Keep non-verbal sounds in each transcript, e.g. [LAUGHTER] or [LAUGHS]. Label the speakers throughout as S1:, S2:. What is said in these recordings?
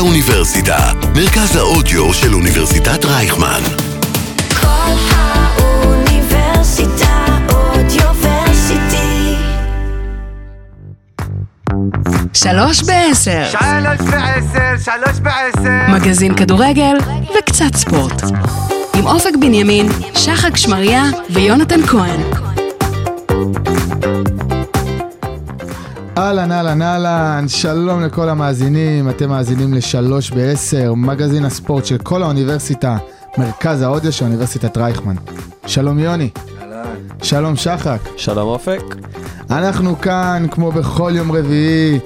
S1: האוניברסיטה, מרכז האודיו של אוניברסיטת רייכמן.
S2: כל האוניברסיטה אודיוורסיטי.
S3: שלוש בעשר,
S4: שלוש בעשר, שלוש בעשר.
S3: מגזין כדורגל וקצת ספורט. עם אופק בנימין, שחק שמריה ויונתן כהן.
S5: אהלן, אהלן, אהלן, שלום לכל המאזינים, אתם מאזינים לשלוש בעשר, מגזין הספורט של כל האוניברסיטה, מרכז האודיו של אוניברסיטת רייכמן. שלום יוני. שלום שחק.
S6: שלום אופק.
S5: אנחנו כאן, כמו בכל יום רביעי,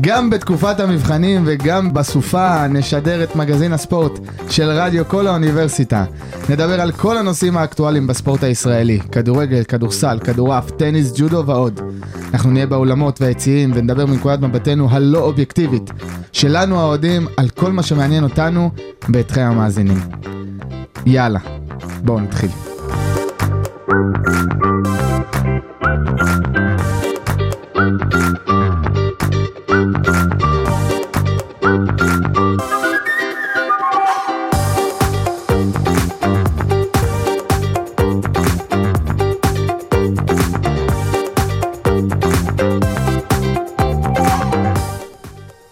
S5: גם בתקופת המבחנים וגם בסופה, נשדר את מגזין הספורט של רדיו כל האוניברסיטה. נדבר על כל הנושאים האקטואליים בספורט הישראלי, כדורגל, כדורסל, כדורעף, טניס, ג'ודו ועוד. אנחנו נהיה באולמות והיציעים ונדבר מנקודת מבטנו הלא אובייקטיבית, שלנו האוהדים, על כל מה שמעניין אותנו ואתכם המאזינים. יאללה, בואו נתחיל.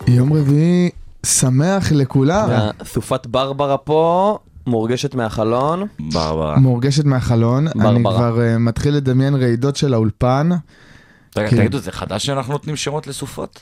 S5: יום רביעי שמח לכולם.
S6: סופת ברברה פה מורגשת מהחלון.
S7: ברברה.
S5: מורגשת מהחלון, אני
S6: ברברה.
S5: כבר אה, מתחיל לדמיין רעידות של האולפן,
S7: רגע,
S5: כן.
S7: תגידו, זה חדש שאנחנו נותנים שמות לסופות?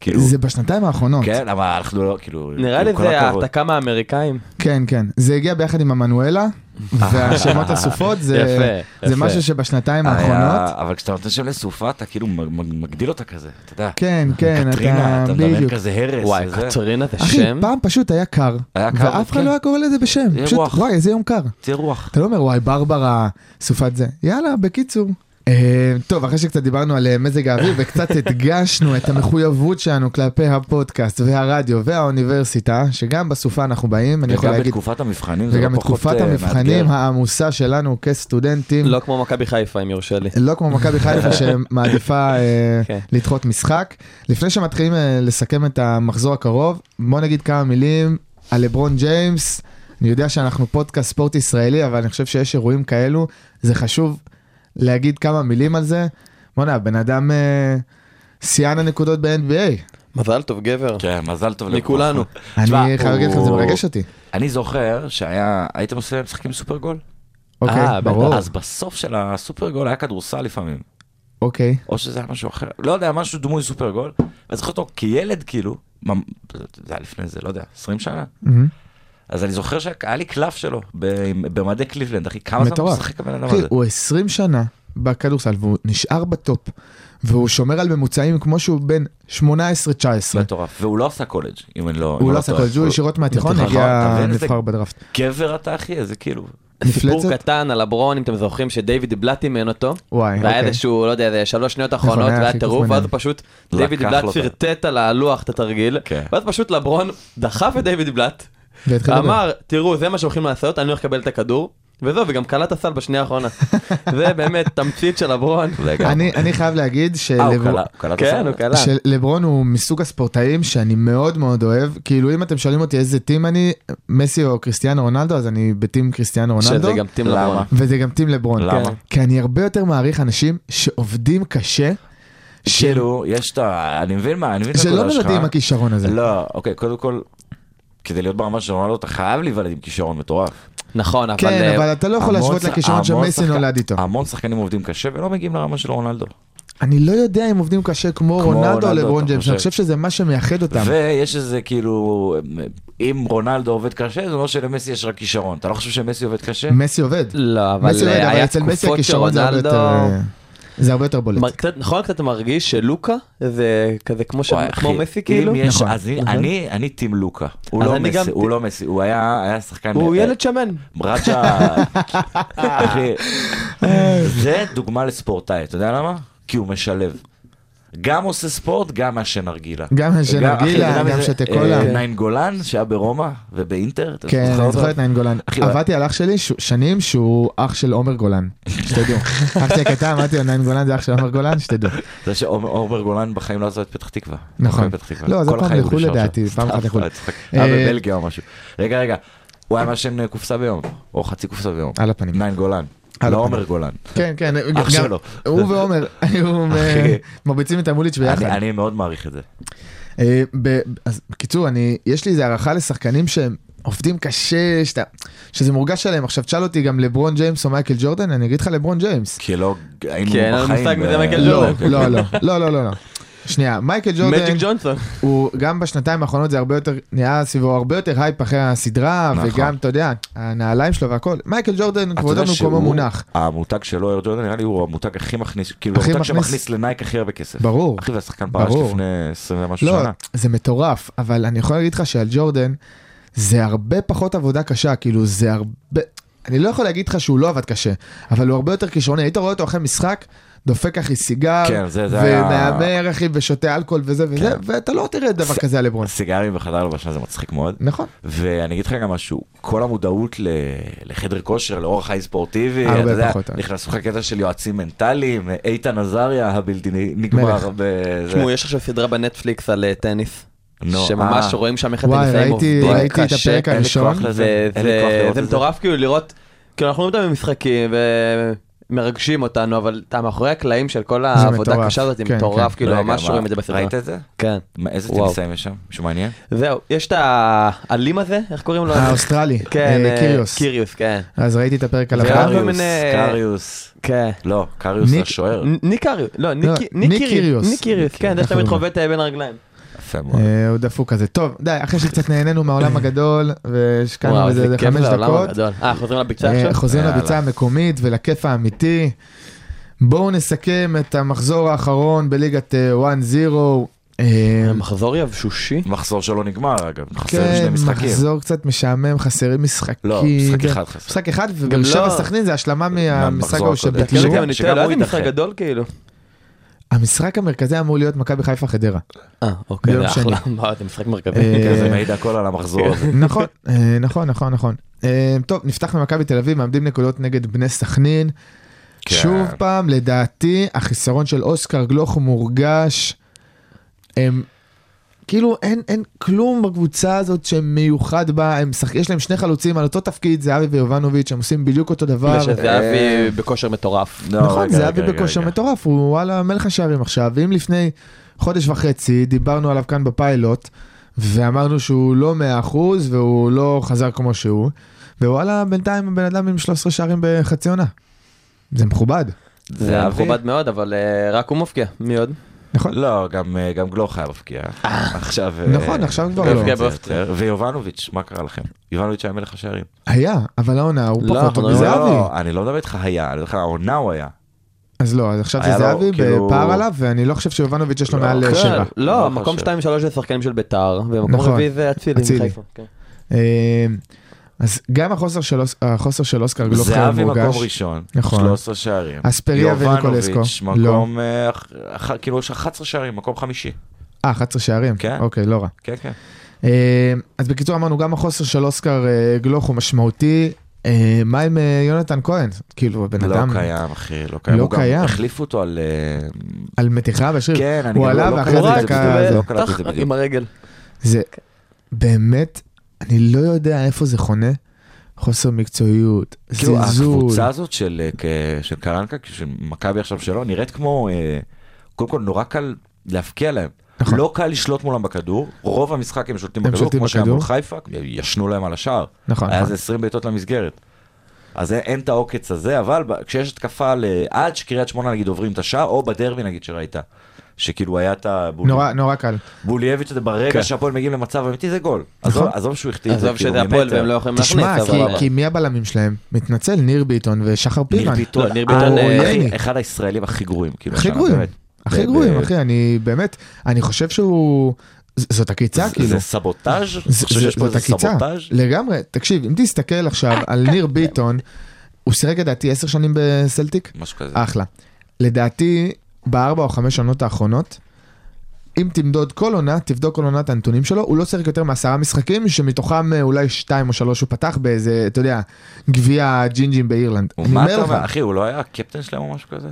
S7: כאילו,
S5: זה בשנתיים האחרונות.
S7: כן, אבל אנחנו לא, כאילו,
S6: נראה לי
S7: כאילו, כל
S6: זה
S7: הכבוד.
S6: העתקה מהאמריקאים.
S5: כן, כן. זה הגיע ביחד עם
S7: [LAUGHS]
S5: עמנואלה, והשמות הסופות זה
S6: יפה,
S5: זה
S6: יפה.
S5: משהו שבשנתיים האחרונות.
S7: היה- אבל כשאתה נותן שם לסופה, אתה כאילו מג- מג- מגדיל אותה כזה, אתה יודע.
S5: כן, כן,
S7: קטרינה,
S5: אתה
S7: אתה מדמיין
S5: בדיוק.
S7: כזה הרס.
S6: וואי,
S7: וזה.
S6: קטרינה זה
S5: אחי,
S6: שם.
S5: פעם פשוט היה קר,
S7: היה קר,
S5: ואף אחד
S7: כן.
S5: לא היה קורא לזה בשם.
S7: זה
S5: פשוט,
S7: רוח.
S5: וואי, איזה יום קר.
S7: תהיה רוח.
S5: אתה לא אומר, וואי, ברברה, סופת זה. יאללה, בקיצור. אה, טוב, אחרי שקצת דיברנו על אה, מזג האוויר
S7: [LAUGHS]
S5: וקצת הדגשנו את המחויבות שלנו כלפי הפודקאסט והרדיו והאוניברסיטה, שגם בסופה אנחנו באים, אני יכול
S7: וגם
S5: להגיד,
S7: בתקופת המבחנים, זה לא
S5: וגם
S7: פחות
S5: בתקופת
S7: אה,
S5: המבחנים
S7: מאתגר.
S5: העמוסה שלנו כסטודנטים,
S6: לא כמו מכבי חיפה, אם יורשה לי.
S5: לא כמו מכבי חיפה שמעדיפה אה,
S6: כן.
S5: לדחות משחק. לפני שמתחילים אה, לסכם את המחזור הקרוב, בוא נגיד כמה מילים על לברון ג'יימס. אני יודע שאנחנו פודקאסט ספורט ישראלי, אבל אני חושב שיש אירועים כאלו, זה חשוב להגיד כמה מילים על זה. בוא'נה, הבן אדם אה, שיאן הנקודות ב-NBA.
S6: מזל טוב, גבר.
S7: כן, מזל טוב לברון.
S6: מכולנו.
S7: תשמע,
S5: אני חייב להגיד לך, זה
S7: הוא-
S5: מרגש אותי.
S7: אני זוכר שהיה, הייתם עושים משחקים סופרגול?
S5: אוקיי,
S6: אה,
S5: ברור.
S7: אז בסוף של הסופרגול היה כדורסל לפעמים.
S5: אוקיי.
S7: או שזה היה משהו אחר, לא יודע, משהו דמוי סופרגול. ואני זוכר אותו כילד, כאילו, ממ- זה היה לפני זה, לא יודע, 20 שנה.
S5: מהמם.
S7: אז אני זוכר שהיה לי קלף שלו ב- במדי קליבלנד, אחי, כמה זמן הוא
S5: מטורף.
S7: משחק הבן אדם
S5: אחי,
S7: הזה?
S5: הוא 20 שנה בכדורסל והוא נשאר בטופ, והוא שומר על ממוצעים כמו שהוא בן 18-19.
S7: מטורף. והוא לא עשה קולג', אם אני לא... אם
S5: הוא
S7: אני
S5: לא עשה
S7: טועה.
S5: קולג' הוא ישירות מהתיכון,
S7: נכון, אתה
S5: הגיע
S7: מבין? זה
S5: נבחר בדראפט.
S7: גבר אתה, אחי, איזה כאילו...
S6: סיפור
S5: כן. מפלצת?
S6: קטן על הברון, אם אתם זוכרים שדייוויד בלאט אימן אותו.
S5: וואי,
S6: והיה
S5: אוקיי. נכון,
S6: איזשהו, לא יודע, איזה שלוש שניות אחרונות,
S5: היה
S6: והיה
S5: חיכוך
S6: טירוף,
S5: ביניהם.
S6: ואז הוא פשוט,
S7: לקח
S6: דיוויד בלאט
S7: לו את ה-
S6: פרטט על הלוח את התרגיל,
S7: כן.
S6: ואז פשוט לברון דחף את דיוויד בלאט,
S5: והתחיל לדבר.
S6: אמר, תראו, זה מה שהולכים לעשות, אני הולך לקבל את הכדור, וזהו, וגם קלע את הסל בשנייה
S5: [LAUGHS]
S6: האחרונה. זה באמת תמצית של לברון.
S7: לגמרי.
S5: אני אני חייב להגיד
S7: אה, הוא
S5: שלברון-
S7: קלע, הוא קלע את
S6: כן,
S7: הסל.
S6: הוא קלע.
S5: שלברון הוא מסוג הספורטאים שאני מאוד מאוד אוהב, כאילו אם אתם שואלים אותי איזה טים אני, מסי או קריסטיאנו רונלדו, אז אני בטים קריסטיאנו רונלדו,
S6: שזה גם טים
S7: למה?
S6: לברון.
S5: וזה גם טים לברון.
S7: למה?
S5: כן. כי אני הרבה יותר מעריך אנשים שעובדים קשה, שהם
S7: כאילו, יש את ה... אני מבין מה, אני מבין את
S5: שלא
S7: הנקודה לא שלך.
S5: נולדים לא עם הכישרון הזה.
S7: לא, אוקיי, קודם כל, כדי להיות ברמה של רונלדו, אתה חייב להיוולד עם כישרון מטורף.
S6: נכון, אבל...
S5: כן,
S6: אה,
S5: אבל אתה לא יכול
S7: המון
S5: להשוות
S7: שח-
S5: לכישרון
S7: המון
S5: שמסי
S7: שחקן- אה.
S5: נולד איתו.
S7: המון שחקנים עובדים קשה ולא מגיעים לרמה של רונלדו.
S5: אני לא יודע אם עובדים קשה כמו רונלדו או
S7: רונלדו,
S5: לברון
S7: אתה
S5: ג'יימס, אני
S7: חושב.
S5: חושב שזה מה שמייחד אותם.
S7: ויש איזה כאילו, אם רונלדו עובד קשה, זה אומר שלמסי יש רק כישרון. אתה לא חושב שמסי עובד קשה?
S5: מסי עובד.
S6: לא, אבל
S5: מסי עובד,
S6: אה,
S5: אבל
S6: היה
S5: אצל מסי
S6: תקופות
S5: הכישרון זה הרבה
S6: שרונלדו...
S5: יותר... אה, זה הרבה יותר בולט.
S6: מר- קצת- נכון, קצת מרגיש שלוקה זה כזה כמו ש-
S7: וואי,
S6: כמו
S7: אחי,
S6: מסי
S7: אם
S6: כאילו.
S7: יש-
S5: נכון.
S7: אז אני- אני אני טים לוקה. הוא
S6: אז
S7: לא
S6: אני גם
S7: מסי, הוא
S6: טים-
S7: לא מסי, הוא היה היה שחקן...
S6: הוא
S7: אה,
S6: ילד שמן.
S7: בראצ'ה,
S6: [LAUGHS]
S7: אחי, זה דוגמה לספורטאי, אתה יודע למה? כי הוא משלב. גם עושה ספורט, גם מעשן נרגילה.
S5: גם מעשן
S7: וגם- אחי,
S5: נרגילה,
S7: אתה יודע
S5: גם
S7: מי זה?
S5: שתה קולה.
S7: אה, נעים גולן, שהיה ברומא ובאינטר. אתה
S5: כן,
S7: זוכר
S5: אני
S7: אותו?
S5: זוכר את נעים גולן.
S7: אחי,
S5: עבדתי על אח שלי ש- שנים שהוא אח של עומר גולן,
S7: [LAUGHS]
S5: שתדעו. אח שלי הקטן, אמרתי לו, נעים גולן זה אח של עומר גולן, שתדעו.
S7: זה שעומר גולן בחיים לא עזב את פתח תקווה.
S5: נכון.
S7: בחיים פתח תקווה.
S5: לא, זה
S7: כל
S5: פעם
S7: החיים הוא
S5: לחו"ל
S7: נשאר שם.
S5: לדעתי, זה פעם אחת
S7: [LAUGHS] סתם,
S5: לחו"ל.
S7: אני צוחק. היה
S5: אה,
S7: בבלגיה או משהו. רגע, רגע. הוא היה מעשן אה, קופסה ביום, או חצי קופסה ביום.
S5: על הפנים.
S7: נעים גולן.
S5: על
S7: לא
S5: הפנים.
S7: עומר גולן.
S5: כן, כן.
S7: אח
S5: גם-
S7: שלו.
S5: הוא ועומר, [LAUGHS] היו
S7: אחי.
S5: מרביצים את המוליץ' ביחד.
S7: אני אני מאוד מעריך את זה.
S5: אה, ב- אז בקיצור, אני, יש לי איזה הערכה לשחקנים שהם עובדים קשה, שאתה, שזה מורגש עליהם. עכשיו תשאל אותי גם לברון ג'יימס או מייקל ג'ורדן, אני אגיד לך לברון ג'יימס.
S7: כי לא היינו
S6: כן, אין לנו
S7: בחיים. אה,
S6: מושג מי זה
S7: ב-
S6: מייקל
S5: לא,
S6: ג'ורדן.
S5: לא, לא, לא, לא, לא. לא. שנייה, מייקל ג'ורדן,
S6: מג'יק ג'ונסון.
S5: הוא גם בשנתיים האחרונות זה הרבה יותר, נהיה סביבו הרבה יותר הייפ אחרי הסדרה,
S7: נכון.
S5: וגם, אתה יודע, הנעליים שלו והכל. מייקל ג'ורדן,
S7: אתה יודע
S5: כבודו במקומו
S7: שהוא-
S5: מונח.
S7: המותג שלו, איר ג'ורדן, נראה לי הוא המותג הכי מכניס, כאילו,
S5: הכי
S7: המותג
S5: מכניס-
S7: שמכניס לנייק הכי הרבה כסף.
S5: ברור.
S7: אחי, והשחקן פרש
S5: ברור.
S7: לפני 20 ומשהו
S5: לא,
S7: שנה.
S5: זה מטורף, אבל אני יכול להגיד לך שעל ג'ורדן זה הרבה פחות עבודה קשה, כאילו זה הרבה... אני לא יכול להגיד לך שהוא לא עבד קשה, אבל הוא הרבה יותר כישרוני. היית רואה אותו אחרי משחק, דופק אחי סיגר,
S7: כן, זה- זה היה-
S5: ומהמר אחי ושותה אלכוהול וזה וזה, ואתה לא תראה דבר כזה על לברון.
S7: סיגרים בחדר הלבשה זה מצחיק מאוד.
S5: נכון.
S7: ואני אגיד לך גם משהו, כל המודעות ל... לחדר כושר, לאורח חיים ספורטיבי,
S5: הרבה
S7: אתה יודע,
S5: פחות. אה.
S7: נכנסו לך קטע של יועצים מנטליים, איתן עזריה הבלתי נגמר.
S5: מלך.
S7: בזה.
S6: תשמעו, יש עכשיו סדרה בנטפליקס על אה, טניס.
S7: נו,
S6: שממש
S7: אה.
S6: רואים שם איך
S5: וואי,
S6: הטניסאים
S5: ראיתי-
S6: עובדים
S5: ראיתי את
S6: קשה.
S5: הפרק
S7: אין לי
S5: הראשון.
S7: כוח לזה,
S6: זה-
S7: אין לי כוח
S6: זה
S7: לראות
S6: זה
S7: את זה.
S6: מטורף כאילו לראות, כאילו אנחנו לא מדברים במשחקים ומרגשים אותנו, אבל אתה מאחורי הקלעים של כל העבודה
S5: מטורף.
S6: הקשה הזאת, זה
S5: כן,
S6: מטורף, כאילו
S7: רגע,
S6: ממש
S7: מה,
S6: רואים את זה בסדרה.
S7: לא, ראית את זה?
S6: כן.
S7: מה, איזה
S6: וואו.
S7: טניסאים יש שם? משהו מעניין?
S6: זהו, יש את האלים הזה, איך קוראים לו?
S5: [LAUGHS] האוסטרלי,
S6: כן,
S5: אה,
S6: אה,
S5: קיריוס.
S6: קיריוס, כן.
S5: אז ראיתי את הפרק אה, על
S6: זה
S5: הבא.
S6: היה
S7: קריוס,
S6: מיני-
S7: קריוס.
S6: כן.
S7: לא, קריוס זה
S5: ניק-
S7: השוער.
S6: נ- ניק קריוס, לא,
S5: לא,
S6: ניק
S5: ניק
S6: ניק קיריוס,
S5: קיריוס.
S6: ניק קיריוס, כן, זה
S5: איך
S6: שתמיד
S5: קוראים
S6: חובט אה, בין הרגליים.
S7: יפה מאוד.
S5: אה, הוא דפוק כזה. טוב, די, אחרי שקצת נהנינו מהעולם הגדול, והשקענו
S6: וואו,
S5: בזה
S6: זה
S5: איזה
S6: כיף
S5: חמש
S6: לעולם
S5: דקות.
S6: הגדול. אה, חוזרים לביצה
S5: אה,
S6: עכשיו?
S5: חוזרים
S7: יאללה.
S5: לביצה המקומית ולכיף האמיתי. בואו נסכם את המחזור האחרון בליגת אה, 1-0. אה,
S6: מחזור יבשושי?
S7: מחזור שלא נגמר אגב, חסר שני
S5: כן,
S7: משחקים.
S5: מחזור קצת משעמם, חסרים משחקים.
S7: לא, משחק אחד חסר.
S5: משחק אחד, ובאר שבע
S6: לא-
S5: סכנין זה השלמה מהמשחק
S7: מהמחזור
S5: ההוא שביטלו.
S7: הקודם.
S6: כן,
S7: שגם-
S6: גם אני
S7: שגם
S6: לא
S7: הוא
S6: הייתי משחק
S7: יידחה.
S6: גדול כאילו.
S5: המשחק המרכזי אמור להיות מכבי חיפה חדרה.
S6: [LAUGHS] אה, אוקיי,
S5: ביום
S6: זה אחלה. [LAUGHS]
S5: שני.
S6: מה, זה משחק מרכבי.
S5: אה,
S7: כן, זה מעיד הכל על המחזור
S6: כן.
S7: הזה.
S5: [LAUGHS] נכון, אה, נכון, נכון, נכון. אה, טוב, נפתח ממכבי תל אביב, מעמדים נקודות נגד בני סכנין.
S7: כן.
S5: שוב פעם, לדעתי, החיסרון של אוסקר גלוך מורגש. הם, כאילו אין, אין כלום בקבוצה הזאת שמיוחד בה, הם שח... יש להם שני חלוצים על אותו תפקיד, זהבי ויובנוביץ', הם עושים בדיוק אותו דבר.
S7: אה,
S6: שזהבי בכושר מטורף.
S7: לא,
S5: נכון,
S7: רגע,
S5: זהבי
S7: רגע, רגע,
S5: בכושר
S7: רגע.
S5: מטורף, הוא וואלה מלך השערים עכשיו. אם לפני חודש וחצי דיברנו עליו כאן בפיילוט, ואמרנו שהוא לא 100% והוא לא חזר כמו שהוא, ווואלה בינתיים הבן אדם עם 13 שערים בחצי עונה. זה מכובד,
S6: זה היה מכובד מאוד, אבל אה, רק הוא מפקיע. מי עוד?
S5: נכון?
S7: לא, גם, אה, גם גלוך היה מפקיע. עכשיו... אה,
S5: נכון, עכשיו כבר
S7: אה,
S5: לא.
S7: זה יותר.
S6: באופציה.
S7: ויובנוביץ', מה קרה לכם? יובנוביץ' היה מלך השערים.
S5: היה, אבל העונה הוא
S6: לא,
S5: פחות טוב
S6: אבל
S7: לא,
S5: מזהבי.
S7: אני לא מדבר איתך היה, אני מדבר איתך העונה הוא היה.
S5: אז לא, אז עכשיו זה
S7: היה לו,
S5: זהבי
S7: כאילו-
S5: בפער עליו, ואני לא חושב שיובנוביץ' יש לו
S7: לא,
S5: מעל
S7: כן.
S5: שבע.
S7: לא
S6: לא, מקום
S7: חושב.
S6: 2-3 זה שחקנים של ביתר, ומקום
S5: אה. נכון.
S6: רביעי זה אצילי.
S5: אצילי.
S6: מחיפה, כן.
S5: אה, אז גם החוסר של אוס- החוסר של אוסקר גלוך
S7: זהבי
S5: מורגש.
S7: מקום ראשון,
S5: נכון.
S7: 13 שערים.
S5: אספריה
S7: יובנוביץ',
S5: וניקולסקו. לא.
S7: מקום... אה, אח- אח- כאילו יש 11 שערים, מקום חמישי.
S5: אה, 11 שערים?
S7: כן.
S5: אוקיי, לא רע.
S7: כן, כן.
S5: אה, אז בקיצור אמרנו, גם החוסר של אוסקר אה, גלוך הוא משמעותי. אה, מה עם אה, יונתן כהן? כאילו, הבן
S7: לא
S5: אדם
S7: קיים, אחי, לא קיים.
S5: לא
S7: הוא גם
S5: קיים.
S7: החליפו אותו על... אה,
S5: על מתיחה בשריר.
S7: כן, אני
S5: הוא
S7: גם לא-
S5: עלה
S7: לא
S5: ואחרי
S7: קראתי
S5: זה
S7: את זה
S5: דקה...
S7: בדיוק.
S5: זה-
S7: לא קלטתי את זה
S6: טח,
S7: בדיוק.
S6: עם הרגל.
S5: זה באמת, אני לא יודע איפה זה חונה. חוסר מקצועיות,
S7: כאילו
S5: זלזול.
S7: הקבוצה הזאת של, אה, כ- של קרנקה, של מכבי עכשיו שלו, נראית כמו, אה, קודם כל נורא קל להפקיע להם.
S5: נכון.
S7: לא קל לשלוט מולם בכדור, רוב המשחק הם שולטים
S5: הם
S7: בכדור,
S5: שולטים
S7: כמו שהיה
S5: בכדור.
S7: מול חיפה, ישנו להם על השער.
S5: נכון,
S7: היה
S5: נכון.
S7: איזה 20 בעיטות למסגרת. אז אין- אין את העוקץ הזה, אבל ב- כשיש התקפה לעד שקריית שמונה נגיד עוברים את השער, או בדרבי נגיד שראית. שכאילו היה את הבול-
S5: נורא, נורא קל.
S7: בולייביץ' הזה
S6: כן.
S7: ברגע שהפועל מגיעים למצב אמיתי זה גול. עזוב-
S5: נכון.
S7: עזוב שהוא החטיא את זה
S6: עזוב
S7: כאילו
S6: שזה הפועל
S7: ממטר.
S6: והם לא יכולים להכניס,
S5: תשמע, כי-
S6: אבל...
S5: כי מי הבלמים שלהם? מתנצל, ניר ביטון ושחר
S7: ניר
S5: פירן.
S7: ביטון,
S6: לא, ניר
S7: אה,
S6: ביטון,
S7: הוא
S6: אה,
S7: אחי,
S5: יני.
S7: אחד הישראלים הכי גרועים, כאילו,
S5: הכי
S7: השנה,
S5: גרועים,
S7: באמת.
S5: הכי
S7: ב-
S5: גרועים,
S7: ב-
S5: אחי, אני באמת, אני חושב שהוא... ז- זאת עקיצה,
S7: זה-
S5: כאילו.
S7: זה סבוטאז'? אתה
S5: זה- זה-
S7: חושב שיש פה
S5: זאת
S7: איזה
S5: עקיצה.
S7: סבוטאז'? כן,
S5: לגמרי, תקשיב, אם תסתכל
S7: [LAUGHS]
S5: עכשיו על ניר ביטון, הוא שיחק לדעתי עשר שנים בסלטיק,
S7: משהו כזה.
S5: אחלה. לדעתי, בארבע או חמש עונות האחרונות, אם תמדוד כל עונה, תבדוק כל עונה את הנתונים שלו, הוא לא שיחק יותר מעשרה משחקים, שמתוכם אה, אולי שתיים או שלוש הוא פתח באיזה, אתה יודע, גביע ג'ינג'ים באירלנד. אני
S7: מה
S5: אומר
S7: אתה
S5: לך,
S7: אומר? אחי, הוא לא היה הקפטן שלהם או משהו כזה?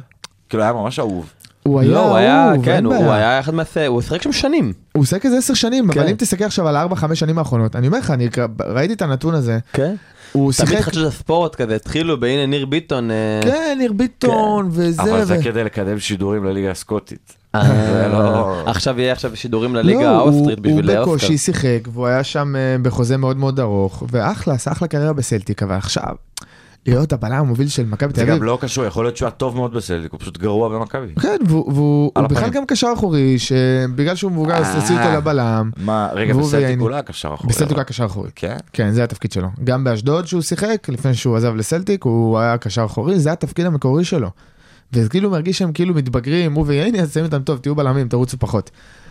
S7: כאילו, היה ממש אהוב.
S5: הוא היה
S6: לא, הוא היה,
S5: אהוב, אין
S6: כן, הוא
S5: בעיה.
S6: הוא היה אחד מהס... הוא שיחק שם שנים.
S5: הוא עושה כזה עשר שנים,
S6: כן.
S5: אבל אם תסתכל עכשיו על ארבע, חמש שנים האחרונות, אני אומר לך, אני ראיתי את הנתון הזה,
S6: כן.
S5: הוא
S6: תמיד
S5: שיחק,
S6: חדשות הספורט כזה, התחילו בהנה ניר ביטון. אה,
S5: כן, ניר ביטון, וזה,
S7: כן. אבל זה כאילו
S5: ו-
S7: כדי לקדם שידורים לליגה הסקוטית.
S6: אה,
S7: זה לא-
S6: עכשיו יהיה עכשיו שידורים
S5: לא,
S6: לליגה
S5: הוא-
S6: האוסטרית בשביל
S5: הוא
S6: האוסקר.
S5: בקושי שיחק, והוא היה שם אה, בחוזה מאוד מאוד ארוך, ואחלה, עשה אחלה קריירה בסלטיק, אבל עכשיו, להיות הבלם המוביל של מכבי
S7: זה
S5: תל אביב,
S7: גם לא קשור, יכול להיות שהוא היה טוב מאוד בסלטיק, הוא פשוט גרוע במכבי.
S5: כן, והוא- והוא
S7: על
S5: הוא בכלל
S7: הפנים.
S5: גם קשר אחורי, שבגלל שהוא מבוגר, אז
S7: אה.
S5: תוציא אותו לבלם,
S7: מה, רגע,
S5: והוא
S7: בסלטיק
S5: ויאני.
S7: הוא לא היה קשר אחורי.
S5: בסלטיק
S7: אבל-
S5: הוא היה קשר אחורי.
S7: כן?
S5: כן, זה התפקיד שלו. גם באשדוד שהוא שיחק, לפני שהוא עזב לסלטיק, הוא היה קשר אחורי, זה התפקיד המקורי שלו. וזה כאילו מרגיש שהם כאילו מתבגרים, הוא וייני, אז שמים אותם טוב, תהיו בלמים, תרוצו פחות.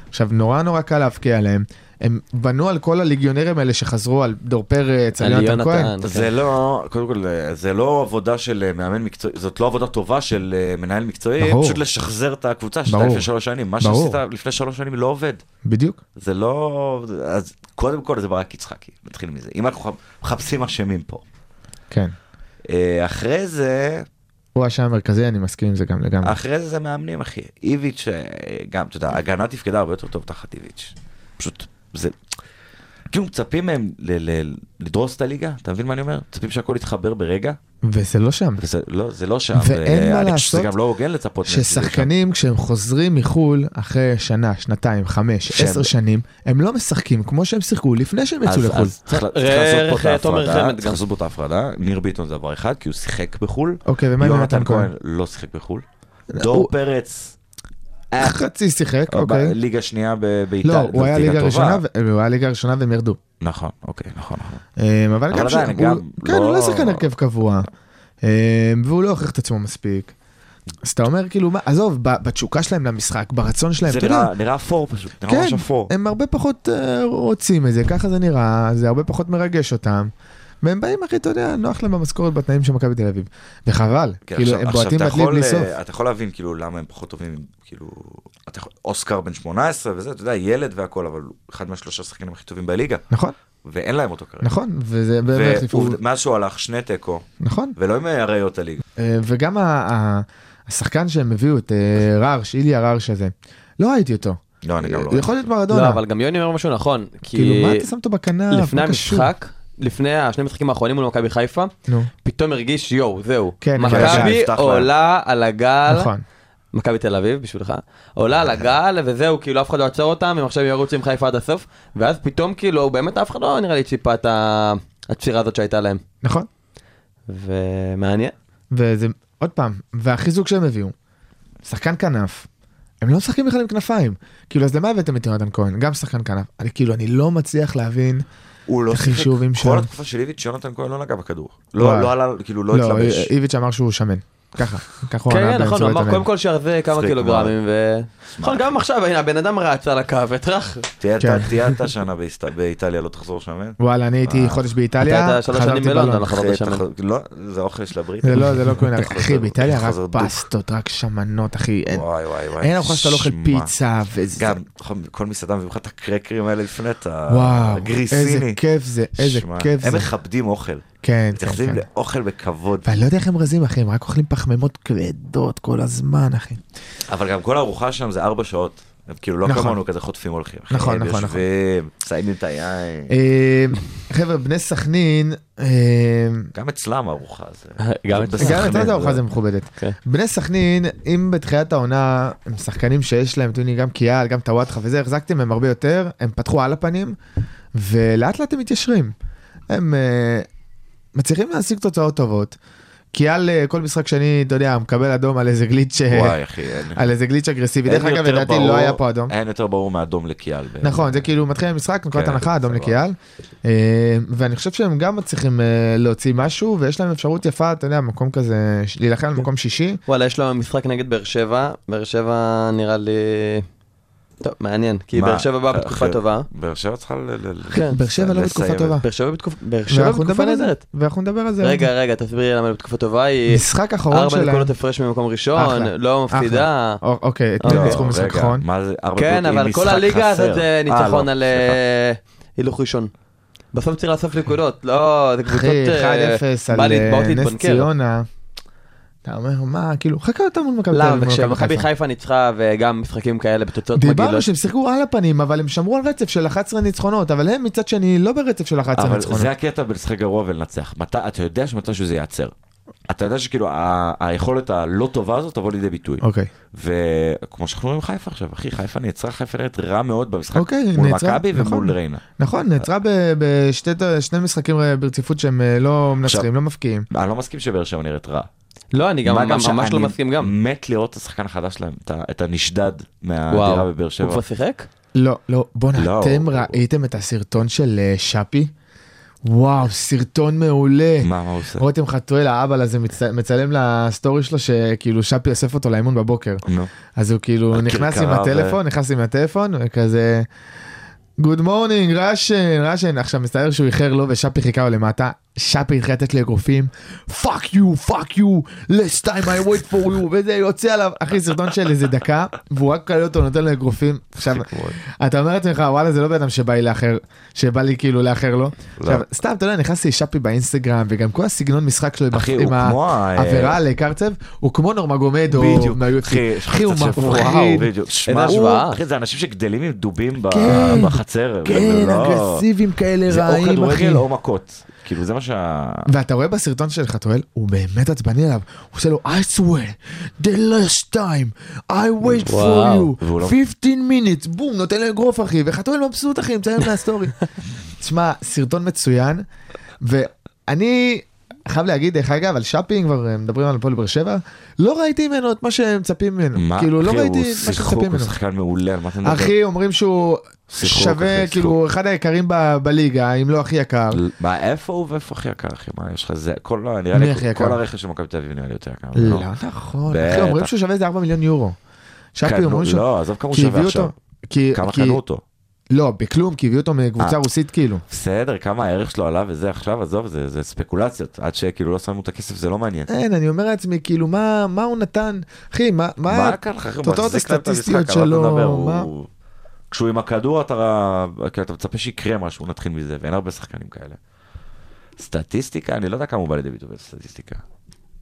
S5: עכשיו, נורא נורא קל להבקיע עליהם. הם בנו על כל הליגיונרים האלה שחזרו על דור פרץ, על
S6: על
S5: יונתן כהן.
S6: יונתן.
S5: כן.
S7: זה לא, קודם כל, אה, זה לא עבודה של אה, מאמן מקצועי, זאת לא עבודה טובה של אה, מנהל מקצועי,
S5: ברור.
S7: פשוט לשחזר את הקבוצה שאתה
S5: ברור.
S7: לפני שלוש שנים. מה
S5: ברור.
S7: שעשית לפני שלוש שנים לא עובד.
S5: בדיוק.
S7: זה לא... אז קודם כל זה ברק יצחקי, נתחיל מזה. אם אנחנו מחפשים אשמים פה.
S5: כן.
S7: אה, אחרי זה,
S5: הוא השם המרכזי, אני מסכים עם זה גם לגמרי.
S7: אחרי זה זה מאמנים אחי. איביץ' אה, גם, אתה יודע, הגנה תפקדה הרבה יותר טוב תחת איביץ'. פשוט, זה... כאילו מצפים מהם ל- ל- לדרוס את הליגה, אתה מבין מה אני אומר? מצפים שהכל יתחבר ברגע,
S5: וזה לא שם.
S7: וזה לא, זה לא שם.
S5: ואין
S7: אה,
S5: מה
S7: אני חושב שזה
S5: לעשות
S7: גם לא הוגן לצפות. מהם שזה
S5: ששחקנים כשהם חוזרים מחול אחרי שנה, שנתיים, חמש,
S7: שהם-
S5: עשר שנים, הם לא משחקים כמו שהם שיחקו לפני שהם
S7: שם.
S5: יצאו
S7: אז-
S5: לחו"ל.
S7: אז צריך לה- צריך
S6: ראה
S7: לעשות פה
S6: ערך,
S7: את
S6: אה, תומר
S7: ההפרדה,
S6: חמד
S7: צריך
S6: גם.
S7: לעשות פה את ההפרדה. ניר ביטון זה דבר אחד, כי הוא שיחק בחו"ל.
S5: אוקיי, ומה עם
S7: יונתן
S5: יונתן
S7: כהן
S5: כהן?
S7: לא שיחק בחו"ל. דור
S5: הוא-
S7: פרץ,
S5: חצי שיחק, אוקיי.
S7: ליגה שנייה ב- באיטליה.
S5: לא, הוא היה
S7: זאת
S5: ליגה
S7: טובה.
S5: ראשונה, ו- הוא היה ליגה ראשונה והם ירדו.
S7: נכון, אוקיי, נכון. נכון.
S5: אמ, אבל
S7: אבל
S5: גם
S7: עדיין,
S5: שהוא-
S7: גם
S5: הוא- כן,
S7: לא-
S5: הוא לא שחקן הרכב קבוע. אמ, והוא לא הוכיח את עצמו מספיק. אז אתה אומר כאילו, מה, עזוב, ב- בתשוקה שלהם למשחק, ברצון שלהם,
S7: זה
S5: אתה יודע,
S7: נראה- נראה אפור פשוט, נראה ממש
S5: כן,
S7: אפור.
S5: הם הרבה פחות אה, רוצים את זה, ככה זה נראה, זה הרבה פחות מרגש אותם. והם באים, אחי, אתה יודע, נוח להם במשכורת בתנאים של מכבי תל אביב. וחבל,
S7: כן,
S5: כאילו,
S7: עכשיו-
S5: הם
S7: עכשיו
S5: בועטים
S7: אתה
S5: בדלי
S7: יכול,
S5: בלי
S7: אה,
S5: סוף.
S7: אתה יכול להבין כאילו למה הם פחות טובים, כאילו, אתה יכול- אוסקר בן 18 וזה, אתה יודע, ילד והכל, אבל הוא אחד מהשלושה השחקנים הכי טובים בליגה,
S5: נכון,
S7: ואין להם אותו כרגע.
S5: נכון, וזה באמת, לפעול-
S7: ומאז שהוא הלך שני תיקו,
S5: נכון.
S7: ולא עם אריות הליגה.
S5: אה, וגם ה- ה- השחקן שהם הביאו, את אה, ררש, איליה ררש הזה, לא ראיתי אותו.
S7: לא, אני גם לא...
S5: הוא יכול להיות מרדונה.
S6: לא, אבל גם יוני אומר משהו נכון. כי
S5: כאילו, מה אתה שם אותו בכנף?
S6: לפני
S5: מה קשור?
S6: המשחק, לפני השני המשחקים האחרונים מול מכבי חיפה,
S5: נו,
S6: פתאום הרגיש יואו, זהו.
S5: כן, אבל
S7: השער
S6: מכבי
S7: נפתח
S6: עולה על הגל,
S5: נכון.
S6: מכבי תל אביב בשבילך, עולה על הגל וזהו, כאילו אף אחד לא יעצור אותם, הם עכשיו ירוצו עם חיפה עד הסוף, ואז פתאום כאילו באמת אף אחד לא נראה לי ציפה את ה- הצפירה הזאת שהייתה להם.
S5: נכון.
S6: ומעניין.
S5: וזה, עוד פעם, והחיזוק שהם הביאו, שחקן כנף, הם לא משחקים בכלל עם כנפיים. כאילו, אז למה הבאתם את יונתן כהן? גם שחקן כנף. אני כאילו, אני לא מצליח להבין.
S7: הוא לא
S5: את החישובים
S7: שיחק.
S5: שם.
S7: כל התקופה של איביץ' יונתן כהן לא נגע בכדור. לא
S5: וואי.
S7: לא עלה, כאילו לא התלבש.
S5: לא, איביץ' אמר שהוא שמן. ככה, ככה הוא ענה
S6: כן, נכון, הוא אמר
S5: באמצעות
S6: קודם כל שירזה כמה
S7: מצחיק
S6: קילוגרמים, ו... נכון, גם עכשיו, הנה, הבן אדם רץ על הקו, הטרח.
S7: תהיה אתה-
S5: כן.
S7: תהיה אתה שנה באיסט- באיטליה, לא תחזור שמן.
S5: וואלה, אני הייתי חודש
S6: אה, אתה
S5: באיטליה,
S6: היית שלוש שנים
S5: חזרתי
S6: בלונדון,
S5: בלון.
S6: נכון. חזרת
S7: אחרי-
S6: שמן.
S7: אתה- לא, זה אוכל של הברית.
S5: זה לא, זה לא
S7: [LAUGHS]
S5: קולינרי.
S7: אתה
S5: אחי,
S7: חוזר-
S5: באיטליה
S7: אתה
S5: רק
S7: חוזר דוק.
S5: פסטות, רק שמנות, אחי. אין-
S7: וואי וואי וואי.
S5: אין ארוחה שאתה לא אוכל
S7: שמע.
S5: פיצה וזה.
S7: גם נכון, כל מסעדה מביאים לך את הקרקרים האלה לפני, את
S5: וואו, איזה
S7: הגריסיני.
S5: כיף זה, איזה
S7: שמע,
S5: כיף
S7: הם
S5: זה.
S7: מכבדים אוכל.
S5: כן, כן,
S7: מתייחסים
S5: כן.
S7: לאוכל בכבוד.
S5: ואני לא יודע איך הם רזים, אחי, הם רק אוכלים פחמימות כבדות כל הזמן, אחי.
S7: אבל גם כל הארוחה שם זה ארבע שעות. הם כאילו לא
S5: נכון.
S7: כמונו כזה חוטפים הולכים. אחי,
S5: נכון,
S7: הם
S5: נכון, נכון.
S7: יושבים, מסיימים את היין.
S5: אה, חבר'ה, בני סכנין, אה,
S7: גם אצלם ארוחה זה.
S6: [LAUGHS] גם את
S7: בסדר.
S5: גם
S7: סכנין,
S5: לצד הארוחה
S7: זה-
S5: זה מכובדת.
S6: כן.
S5: בני סכנין, אם בתחילת העונה הם שחקנים שיש להם, אתם יודעים, גם קיאל, גם טוואטחה וזה, החזקתם הם הרבה יותר, הם פתחו על הפנים, ולאט לאט הם מתיישרים. הם אה, מצליחים להשיג תוצאות טובות. קיאל, אה, כל משחק שני, אתה יודע, מקבל אדום על איזה גליץ' אה,
S7: וואי אחי, אין.
S5: על איזה גליץ' אגרסיבי.
S7: אין
S5: דרך אגב,
S7: יותר
S5: לדעתי
S7: ברור-
S5: לא היה פה אדום.
S7: אין יותר ברור מאדום לקיאל. בעצם.
S5: נכון, זה כאילו מתחיל המשחק, נקודת
S7: כן,
S5: הנחה, אדום
S7: סבבה.
S5: לקיאל. אה, ואני חושב שהם גם מצליחים אה, להוציא משהו, ויש להם אפשרות יפה, אתה יודע, מקום כזה, ש-
S6: כן.
S5: להילחם על מקום שישי.
S6: וואלה, יש לו משחק נגד באר שבע, באר שבע נראה לי... טוב, מעניין, כי באר שבע
S5: אה,
S6: באה בתקופה טובה.
S7: באר שבע צריכה ל... ל-
S6: כן.
S5: באר שבע לא
S7: לסיים
S5: בתקופה
S7: את-
S5: טובה.
S6: באר שבע בתקופה- באר שבע
S5: ואנחנו
S6: בתקופה
S5: נדבר על זה.
S6: נהדרת.
S5: ואנחנו נדבר על זה.
S6: רגע, רגע, תסבירי למה היא בתקופה טובה היא...
S5: משחק אחרון
S6: ארבע
S5: שלהם.
S6: נקודות הפרש ממקום ראשון,
S5: אחלה.
S6: לא מפסידה.
S5: או- אוקיי,
S6: לא,
S5: אתמול ניצחו משחק
S7: רגע,
S5: אחרון.
S7: מה זה, ארבע
S6: כן,
S7: נקודות,
S6: אבל
S7: אם
S6: כל
S7: משחק
S6: הליגה הזאת
S7: חסר.
S6: זה
S7: אה,
S6: ניצחון
S7: לא,
S6: על
S7: סליחה.
S6: אה, הילוך ראשון. בסוף צריך לאסוף נקודות, לא, זה קבוצות...
S5: אחי, 1-0
S6: אה,
S5: על
S6: בא
S5: אה,
S6: להתבעות
S5: נס
S6: להתבנקר.
S5: ציונה. אתה אומר, מה, כאילו, חכה אותם מול מכבי תל אביב.
S6: למה,
S5: מול מכבי
S6: וכשמכבי
S5: חיפה.
S6: לא, חיפה ניצחה וגם משחקים כאלה בתוצאות
S5: דיברנו
S6: מגעילות.
S5: שהם שיחקו על הפנים, אבל הם שמרו על רצף של 11 ניצחונות, אבל הם מצד שני לא ברצף של 11
S7: אבל
S5: ניצחונות.
S7: זה הקטע בלשחק גרוע ולנצח. מתי, אתה יודע שמתישהו זה ייעצר. אתה יודע שכאילו ה- היכולת הלא טובה הזאת תבוא לידי ביטוי.
S5: אוקיי.
S7: וכמו שאנחנו רואים חיפה עכשיו, אחי, חיפה נעצרה, חיפה נראית רע מאוד במשחק
S5: אוקיי,
S7: מול
S5: נעצרה,
S7: מכבי
S5: נכון.
S7: ומול ריינה.
S5: נכון, נעצרה ב- בשתי שני משחקים ברציפות שהם אה, לא מנצחים,
S7: עכשיו-
S5: לא מפקיעים.
S7: אני לא מסכים שבאר שבע נראית רע.
S6: לא, אני גם
S7: מה
S6: ממש
S7: שאני
S6: לא מסכים גם.
S7: מת לראות את השחקן החדש שלהם, את ה- את הנשדד מהדירה
S6: וואו,
S7: בבאר
S6: הוא
S7: שבע.
S6: כבר שיחק?
S5: לא, לא, בואנה,
S7: לא.
S5: אתם ראיתם את הסרטון של אה, שפי? וואו, סרטון מעולה.
S7: מה, מה הוא עושה?
S5: רותם חתואל, האבל הזה, מצ- מצלם לסטורי שלו שכאילו שפי אוסף אותו לאימון בבוקר.
S7: נו.
S5: אז הוא כאילו
S7: הכרכרה
S5: נכנס עם
S7: ו-
S5: הטלפון, נכנס עם הטלפון, וכזה... גוד מורנינג, ראשן, ראשן. עכשיו מסתבר שהוא איחר לו ושאפי חיכה לו למטה. שאפי התחיל לתת לו אגרופים, פאק יו, פאק יו, last time I wait for you, וזה יוצא עליו, אחי, סרטון של איזה דקה, והוא רק קלט אותו, נותן לו אגרופים. עכשיו, אתה אומר לעצמך, וואלה, זה לא בן אדם שבא לי לאחר, שבא לי כאילו לאחר
S7: לא.
S5: לו. עכשיו, סתם, אתה יודע, נכנסתי לשאפי באינסטגרם, וגם כל הסגנון משחק שלו עם
S7: אחי,
S5: ה-
S7: הוא
S5: עם
S7: כמו ה-
S5: העבירה על קרצב, הוא כמו נורמגומדו,
S7: בדיוק,
S5: מה-UFC.
S7: אחי, יש לך
S5: אחי, הוא
S7: קצת של- וואו,
S5: מפחיד,
S7: בדיוק. שמע,
S6: איזה
S7: הוא-
S6: השוואה.
S7: אחי, זה אנשים שגדלים עם דובים ב-
S5: כן.
S7: בחצר. זה
S5: כן,
S7: לא-
S5: אגרסיביים כאלה
S7: זה או
S5: רעים, אחי.
S7: כדורגל או מכות. כאילו, זה מה שה...
S5: ואתה רואה בסרטון של חתואל, הוא באמת עצבני עליו, הוא עושה לו, I swear, the last time, I wait for
S6: וואו.
S5: you,
S7: והוא לא-
S5: 15 minutes, בום, נותן לו אגרוף אחי, וחתואל לא מבסוט אחי, מציין
S7: [LAUGHS]
S5: מהסטורי. תשמע, סרטון מצוין, ואני חייב להגיד, דרך אגב, על שפינג, כבר אה, מדברים על הפועל באר שבע, לא ראיתי ממנו את מה שמצפים ממנו,
S7: מה,
S5: כאילו, לא
S7: אחי,
S5: ראיתי
S7: הוא
S5: את מה
S7: שיחוק,
S5: שמצפים
S7: הוא
S5: ממנו.
S7: שחקן מעולה, על מה אתה מדבר?
S5: אחי, אומרים שהוא
S7: שיחוק,
S5: שווה,
S7: אחי,
S5: כאילו, אחד היקרים ב- בליגה, אם לא הכי יקר.
S7: מה, איפה הוא ואיפה הכי יקר, אחי? מה, יש לך זה? כל לא,
S5: מי
S7: נראה לי,
S5: הכי יקר?
S7: כל הרכש של מכבי תל אביב נראה לי יותר יקר.
S5: לא נכון, אחי,
S7: בטח.
S5: אומרים שהוא שווה איזה 4 מיליון יורו. שפי
S7: קנו-
S5: אומרים שהוא...
S7: לא, עזוב כמה הוא
S5: כי
S7: שווה
S5: הביאו
S7: עכשיו.
S5: אותו- כי-
S7: כמה
S5: כי-
S7: קנו אותו?
S5: לא, בכלום, כי הביאו אותו מקבוצה
S7: אה.
S5: רוסית כאילו.
S7: בסדר, כמה הערך שלו עלה וזה עכשיו, עזוב, זה זה ספקולציות. עד שכאילו לא שמו את הכסף, זה לא מעניין.
S5: אין, אני אומר לעצמי, כאילו, מה מה הוא נתן? אחי, מה...
S7: מה קרה לך? אחי? הוא
S5: תוצאות
S7: מחזיק להם את
S5: הסטטיסטיות
S7: המשחק, על מה אתה
S5: שלו,
S7: מדבר?
S5: מה?
S7: הוא- כשהוא עם הכדור, אתה כאילו, אתה מצפה שיקרה משהו, נתחיל מזה, ואין הרבה שחקנים כאלה. סטטיסטיקה, אני לא יודע כמה הוא בא לידי ביטוי בסטטיסטיקה.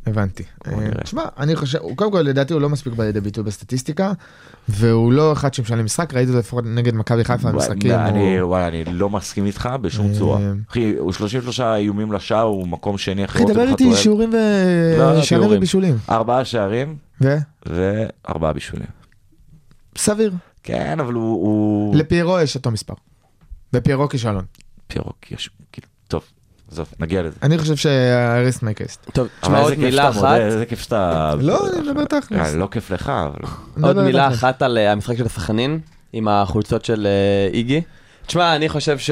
S5: הבנתי.
S7: בוא
S5: אה,
S7: נראה.
S5: תשמע, אני חושב, הוא- קודם כל, לדעתי הוא לא מספיק בא לידי ביטוי בסטטיסטיקה, והוא לא אחד שמשלם משחק, ראיתי אותו לפחות נגד מכבי חיפה במשחקים.
S7: וואי, אני,
S5: הוא-
S7: וואי, אני לא מסכים איתך בשום
S5: אה,
S7: צורה. אחי, הוא 33 איומים לשער, הוא מקום שני אחרי
S5: אחי, דבר איתי
S7: חתואל.
S5: שיעורים
S7: לא,
S5: ו...
S7: לא,
S5: שערים
S6: שיעורים.
S5: ובישולים.
S7: ארבעה שערים
S5: ו?
S7: וארבעה בישולים.
S5: סביר.
S7: כן, אבל הוא... הוא...
S5: לפיירו יש אותו מספר. ופיירו כישלון.
S7: פירוק, יש... כאילו, טוב, עזוב, נגיע לזה.
S5: אני חושב שהאריסט מייקסט.
S6: טוב,
S7: אבל
S6: תשמע עוד
S7: איזה כיף
S6: מילה
S7: שאתה
S6: אחת.
S7: מודה, איזה כיף שאתה...
S5: לא, אני מדבר תכלס.
S7: אה, לא כיף לך, אבל...
S5: לא,
S6: עוד מילה אחת על אה, המשחק של סכנין, עם החולצות של אה, איגי. תשמע, אני חושב ש...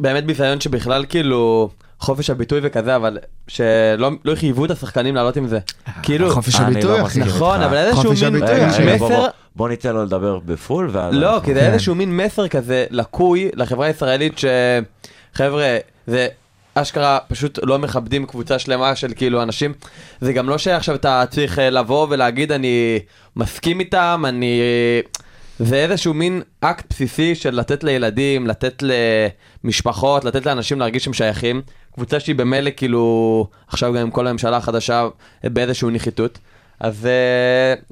S6: באמת ביזיון שבכלל כאילו חופש הביטוי וכזה, אבל שלא לא חייבו את השחקנים לעלות עם זה. כאילו,
S5: חופש
S7: אני לא
S5: הביטוי, אחי.
S7: מסכים.
S6: נכון, אבל איזשהו
S5: אה, חופש
S6: מין
S5: הביטוי,
S7: רגע,
S5: אחי.
S7: רגע, בוא,
S6: מסר...
S7: בוא, בוא ניתן לו לדבר בפול, ואז...
S6: לא,
S7: אנחנו-
S5: כן.
S6: כי זה איזשהו מין מסר כזה לקוי לחברה הישראלית שחבר'ה, זה אשכרה פשוט לא מכבדים קבוצה שלמה של כאילו אנשים. זה גם לא שעכשיו אתה צריך אה, לבוא ולהגיד אני מסכים איתם, אני... זה איזשהו מין אקט בסיסי של לתת לילדים, לתת למשפחות, לתת לאנשים להרגיש שהם שייכים. קבוצה שהיא במילא כאילו עכשיו גם עם כל הממשלה החדשה אה, באיזשהו נחיתות. אז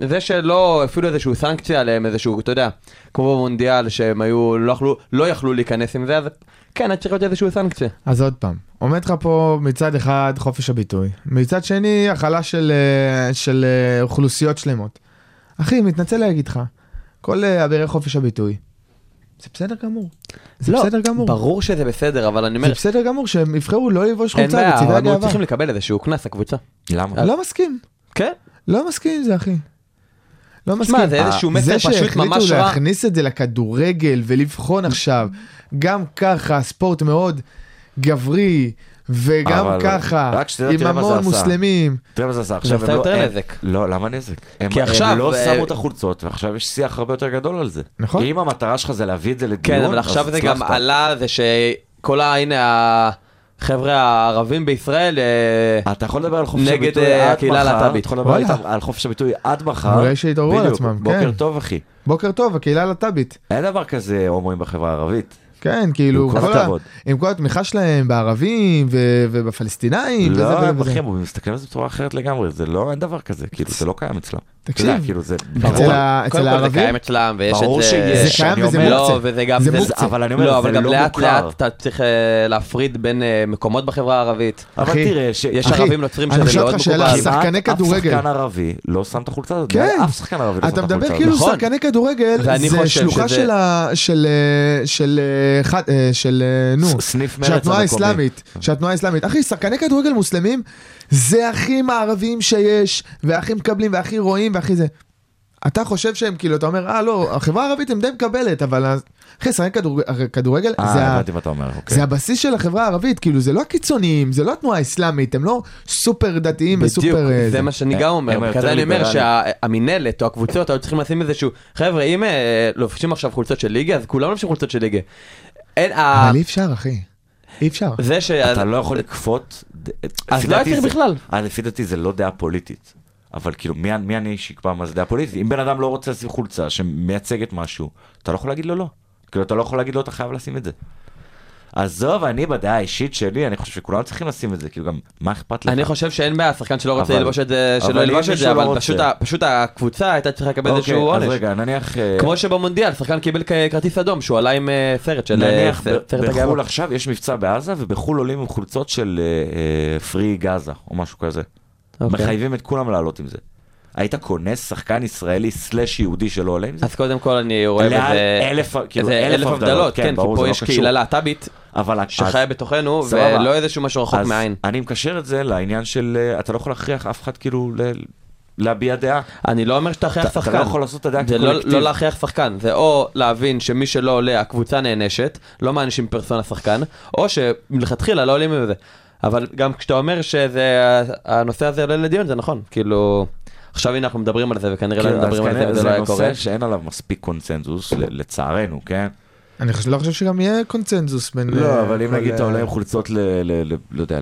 S6: אה, זה שלא אפילו איזשהו סנקציה עליהם איזשהו אתה יודע כמו במונדיאל שהם היו לא יכלו לא יכלו להיכנס עם זה אז כן היה צריך להיות איזשהו סנקציה.
S5: אז עוד פעם, עומד לך פה מצד אחד חופש הביטוי, מצד שני הכלה של, אה, של אה, אוכלוסיות שלמות. אחי, מתנצל להגיד לך, כל אה, אבירי חופש הביטוי, זה בסדר גמור. זה
S6: לא,
S5: בסדר גמור.
S6: ברור שזה בסדר אבל אני אומר
S5: זה בסדר גמור שהם יבחרו לא לבוש
S6: אין
S5: חולצה
S6: בעיה
S5: בצבעי
S6: אבל הם
S5: הגאווה.
S6: צריכים לקבל איזשהו קנס הקבוצה.
S7: למה?
S5: לא מסכים,
S6: כן.
S5: לא מסכים עם זה אחי. לא מסכים.
S6: תשמע זה איזשהו מסר פשוט
S5: זה
S6: ממש
S5: שהחליטו
S6: רע.
S5: להכניס את זה לכדורגל ולבחון עכשיו, גם ככה הספורט מאוד גברי וגם
S7: אבל-
S5: ככה,
S7: רק שתדע,
S5: עם
S7: תראה מה זה
S5: המון
S7: עשה.
S5: מוסלמים.
S7: תראה מה זה עשה
S6: זה
S7: עכשיו.
S6: עשה
S7: הם לא-
S6: יותר
S7: הם-
S6: נזק.
S7: לא, למה נזק? הם-
S6: עכשיו,
S7: הם לא
S6: אה,
S7: שמו את החולצות, ועכשיו יש שיח הרבה יותר גדול על זה.
S5: נכון.
S7: אם המטרה שלך זה להביא את זה לדיון,
S6: כן, אבל
S7: אז
S6: עכשיו זה גם
S7: הצלחת.
S6: עלה, זה שכל ה... הנה, החבר'ה הערבים בישראל, אה,
S7: אתה יכול לדבר על חופש
S6: נגד,
S7: הביטוי
S6: אה,
S7: עד
S6: הקהילה
S7: מחר,
S6: הלהט"בית.
S7: אתה יכול לדבר
S5: וואלה.
S7: איתם על חופש הביטוי עד מחר.
S5: אולי שיתעוררו על
S7: בדיוק,
S5: עצמם,
S7: בוקר
S5: כן.
S7: טוב, אחי.
S5: בוקר טוב, הקהילה הלהט"בית.
S7: אין דבר כזה הומואים בחברה הערבית.
S5: כן, כאילו,
S7: כל
S5: כל ה-
S7: הכבוד.
S5: עם כל התמיכה שלהם בערבים ו- ובפלסטינאים. וזה
S7: לא,
S5: וזה
S7: הם
S5: וזה.
S7: אחי, הם מסתכלים על זה בצורה אחרת לגמרי, זה לא, אין דבר כזה, כאילו, זה לא קיים אצלם. אתה
S5: תקשיב.
S7: יודע, כאילו, זה
S5: אצל
S7: ברור.
S5: ה-
S6: קודם
S5: אצל
S6: כל זה
S5: הערבים?
S6: קיים אצלם, ויש את זה...
S7: ברור שיש,
S5: זה קיים
S7: אני
S5: וזה
S7: אומר.
S5: מוקצה.
S6: לא, וזה גם...
S5: זה מוקצה.
S7: אבל אני אומר,
S6: לא,
S7: זה
S6: אבל גם
S7: לא
S6: לאט
S7: מוכר.
S6: לאט אתה צריך אה, להפריד בין אה, מקומות בחברה הערבית.
S7: אבל
S5: אחי,
S7: תראה, ש-
S6: יש
S7: אחי,
S6: ערבים נוצרים
S5: אני
S6: שזה
S5: אשאל
S6: מאוד
S5: אותך שאלה,
S6: מקובל.
S5: שחקני
S7: כמעט
S5: כדורגל.
S7: אף שחקן ערבי לא שם את החולצה הזאת,
S5: כן.
S7: אף שחקן ערבי לא שם את
S5: אתה
S7: החולצה
S5: מדבר
S7: הזאת.
S5: כאילו
S6: נכון.
S5: שחקני כדורגל,
S6: ואני
S5: זה
S6: חושב
S5: שלוחה
S6: שזה-
S5: של ה... של... אה, של... אה, ח- אה, של... אה, נו.
S7: ס- סניף מרצ
S5: שהתנועה
S7: המקומי.
S5: האסלאמית, שהתנועה האסלאמית, אחי, שחקני כדורגל מוסלמים זה הכי מערבים שיש, והכי מקבלים, והכי רואים, והכי זה. אתה חושב שהם כאילו, אתה אומר, אה לא, החברה הערבית הם די מקבלת, אבל אז- אחי, שחקני כדור- כדורגל זה
S7: אה,
S5: ה-
S7: הבנתי מה אתה אומר, אוקיי.
S5: זה הבסיס של החברה הערבית, כאילו זה לא הקיצוניים, זה לא התנועה האסלאמית, הם לא סופר דתיים
S6: בדיוק,
S5: וסופר... אה,
S6: זה מה שאני גם אומר,
S7: הם
S6: בגלל זה
S7: היותר
S6: אני אומר
S7: ליברליים.
S6: שהמינהלת או הקבוצות היו צריכים לשים איזשהו, חבר'ה אם אה, לובשים עכשיו חולצות של ליגה אז כולם לובשים חולצות של ליגה. אין, ה-
S5: אבל אי אפשר, אחי. אי אפשר.
S6: זה ש...
S7: אתה לא יכול לכפות... ד-
S6: אז
S7: לפי
S6: לא היה
S7: דעתי
S6: צריך
S7: זה-
S6: בכלל.
S7: אה, לפי דעתי זה לא דעה פוליטית. אבל כאילו, מי מי אני שיקבע מה זה דעה פוליטית? אם בן אדם לא רוצה לשים חולצה שמייצגת משהו, אתה לא יכול להגיד לו לא. כאילו, אתה לא יכול להגיד לו, אתה חייב לשים את זה. עזוב, אני בדעה האישית שלי, אני חושב שכולם צריכים לשים את זה, כאילו גם, מה אכפת לך?
S6: אני חושב שאין בעיה, שחקן שלא רוצה
S7: אבל-
S6: ללבוש את זה,
S7: אבל
S6: שלא
S7: אם
S6: ילבש את
S7: מישהו
S6: זה,
S7: לא
S6: אבל
S7: רוצה.
S6: פשוט ה- פשוט הקבוצה הייתה צריכה לקבל
S7: אוקיי,
S6: איזשהו
S7: אז
S6: עונש.
S7: רגע, נניח... אה,
S6: כמו שבמונדיאל, שחקן קיבל כ- כרטיס אדום שהוא עלה עם אה, סרט של אה,
S7: נניח ב-
S6: סרט הגאווה.
S7: בחו"ל עכשיו יש מבצע בעזה ובחו"ל עולים עם חולצות של אה, פרי גאזה או משהו כזה.
S6: אוקיי.
S7: מחייבים את כולם לעלות עם זה. היית קונה שחקן ישראלי סלאש יהודי שלא עולה עם זה?
S6: אז קודם כל אני רואה
S7: לאל-
S6: בזה
S7: אלף- כאילו,
S6: איזה
S7: אלף הבדלות,
S6: כן,
S7: כן,
S6: כי
S7: ברור, זה
S6: פה
S7: לא
S6: יש
S7: קשור.
S6: קהילה להט"בית
S7: אבל
S6: שחיה בתוכנו
S7: סבבה.
S6: ולא איזשהו משהו רחוק
S7: אז
S6: מהעין.
S7: אני מקשר את זה לעניין של אה, אתה לא יכול להכריח אף אחד כאילו ל- להביע דעה.
S6: אני לא אומר שאתה
S7: אתה
S6: הכרח
S7: אתה
S6: שחקן.
S7: לא יכול לעשות את הדעה
S6: זה לא,
S7: כקולקטיב.
S6: לא להכריח שחקן, זה או להבין שמי שלא עולה הקבוצה נענשת, לא מענישים פרסונה שחקן, או שמלכתחילה לא עולים עם זה. אבל גם כשאתה אומר שהנושא הזה עולה לדיון זה נכון, כאילו עכשיו הנה אנחנו מדברים על זה וכנראה
S7: כן,
S6: לא
S7: אז
S6: מדברים על זה
S7: כנראה
S6: וזה
S7: זה
S6: לא היה קורה.
S7: נושא שאין עליו מספיק קונצנזוס ל- לצערנו, כן?
S5: אני חושב- לא חושב שגם יהיה קונצנזוס בין...
S7: לא,
S5: אה,
S7: אבל אם
S5: כל,
S7: נגיד אתה
S5: אה,
S7: עולה עם חולצות ל... ל- ל- לא יודע,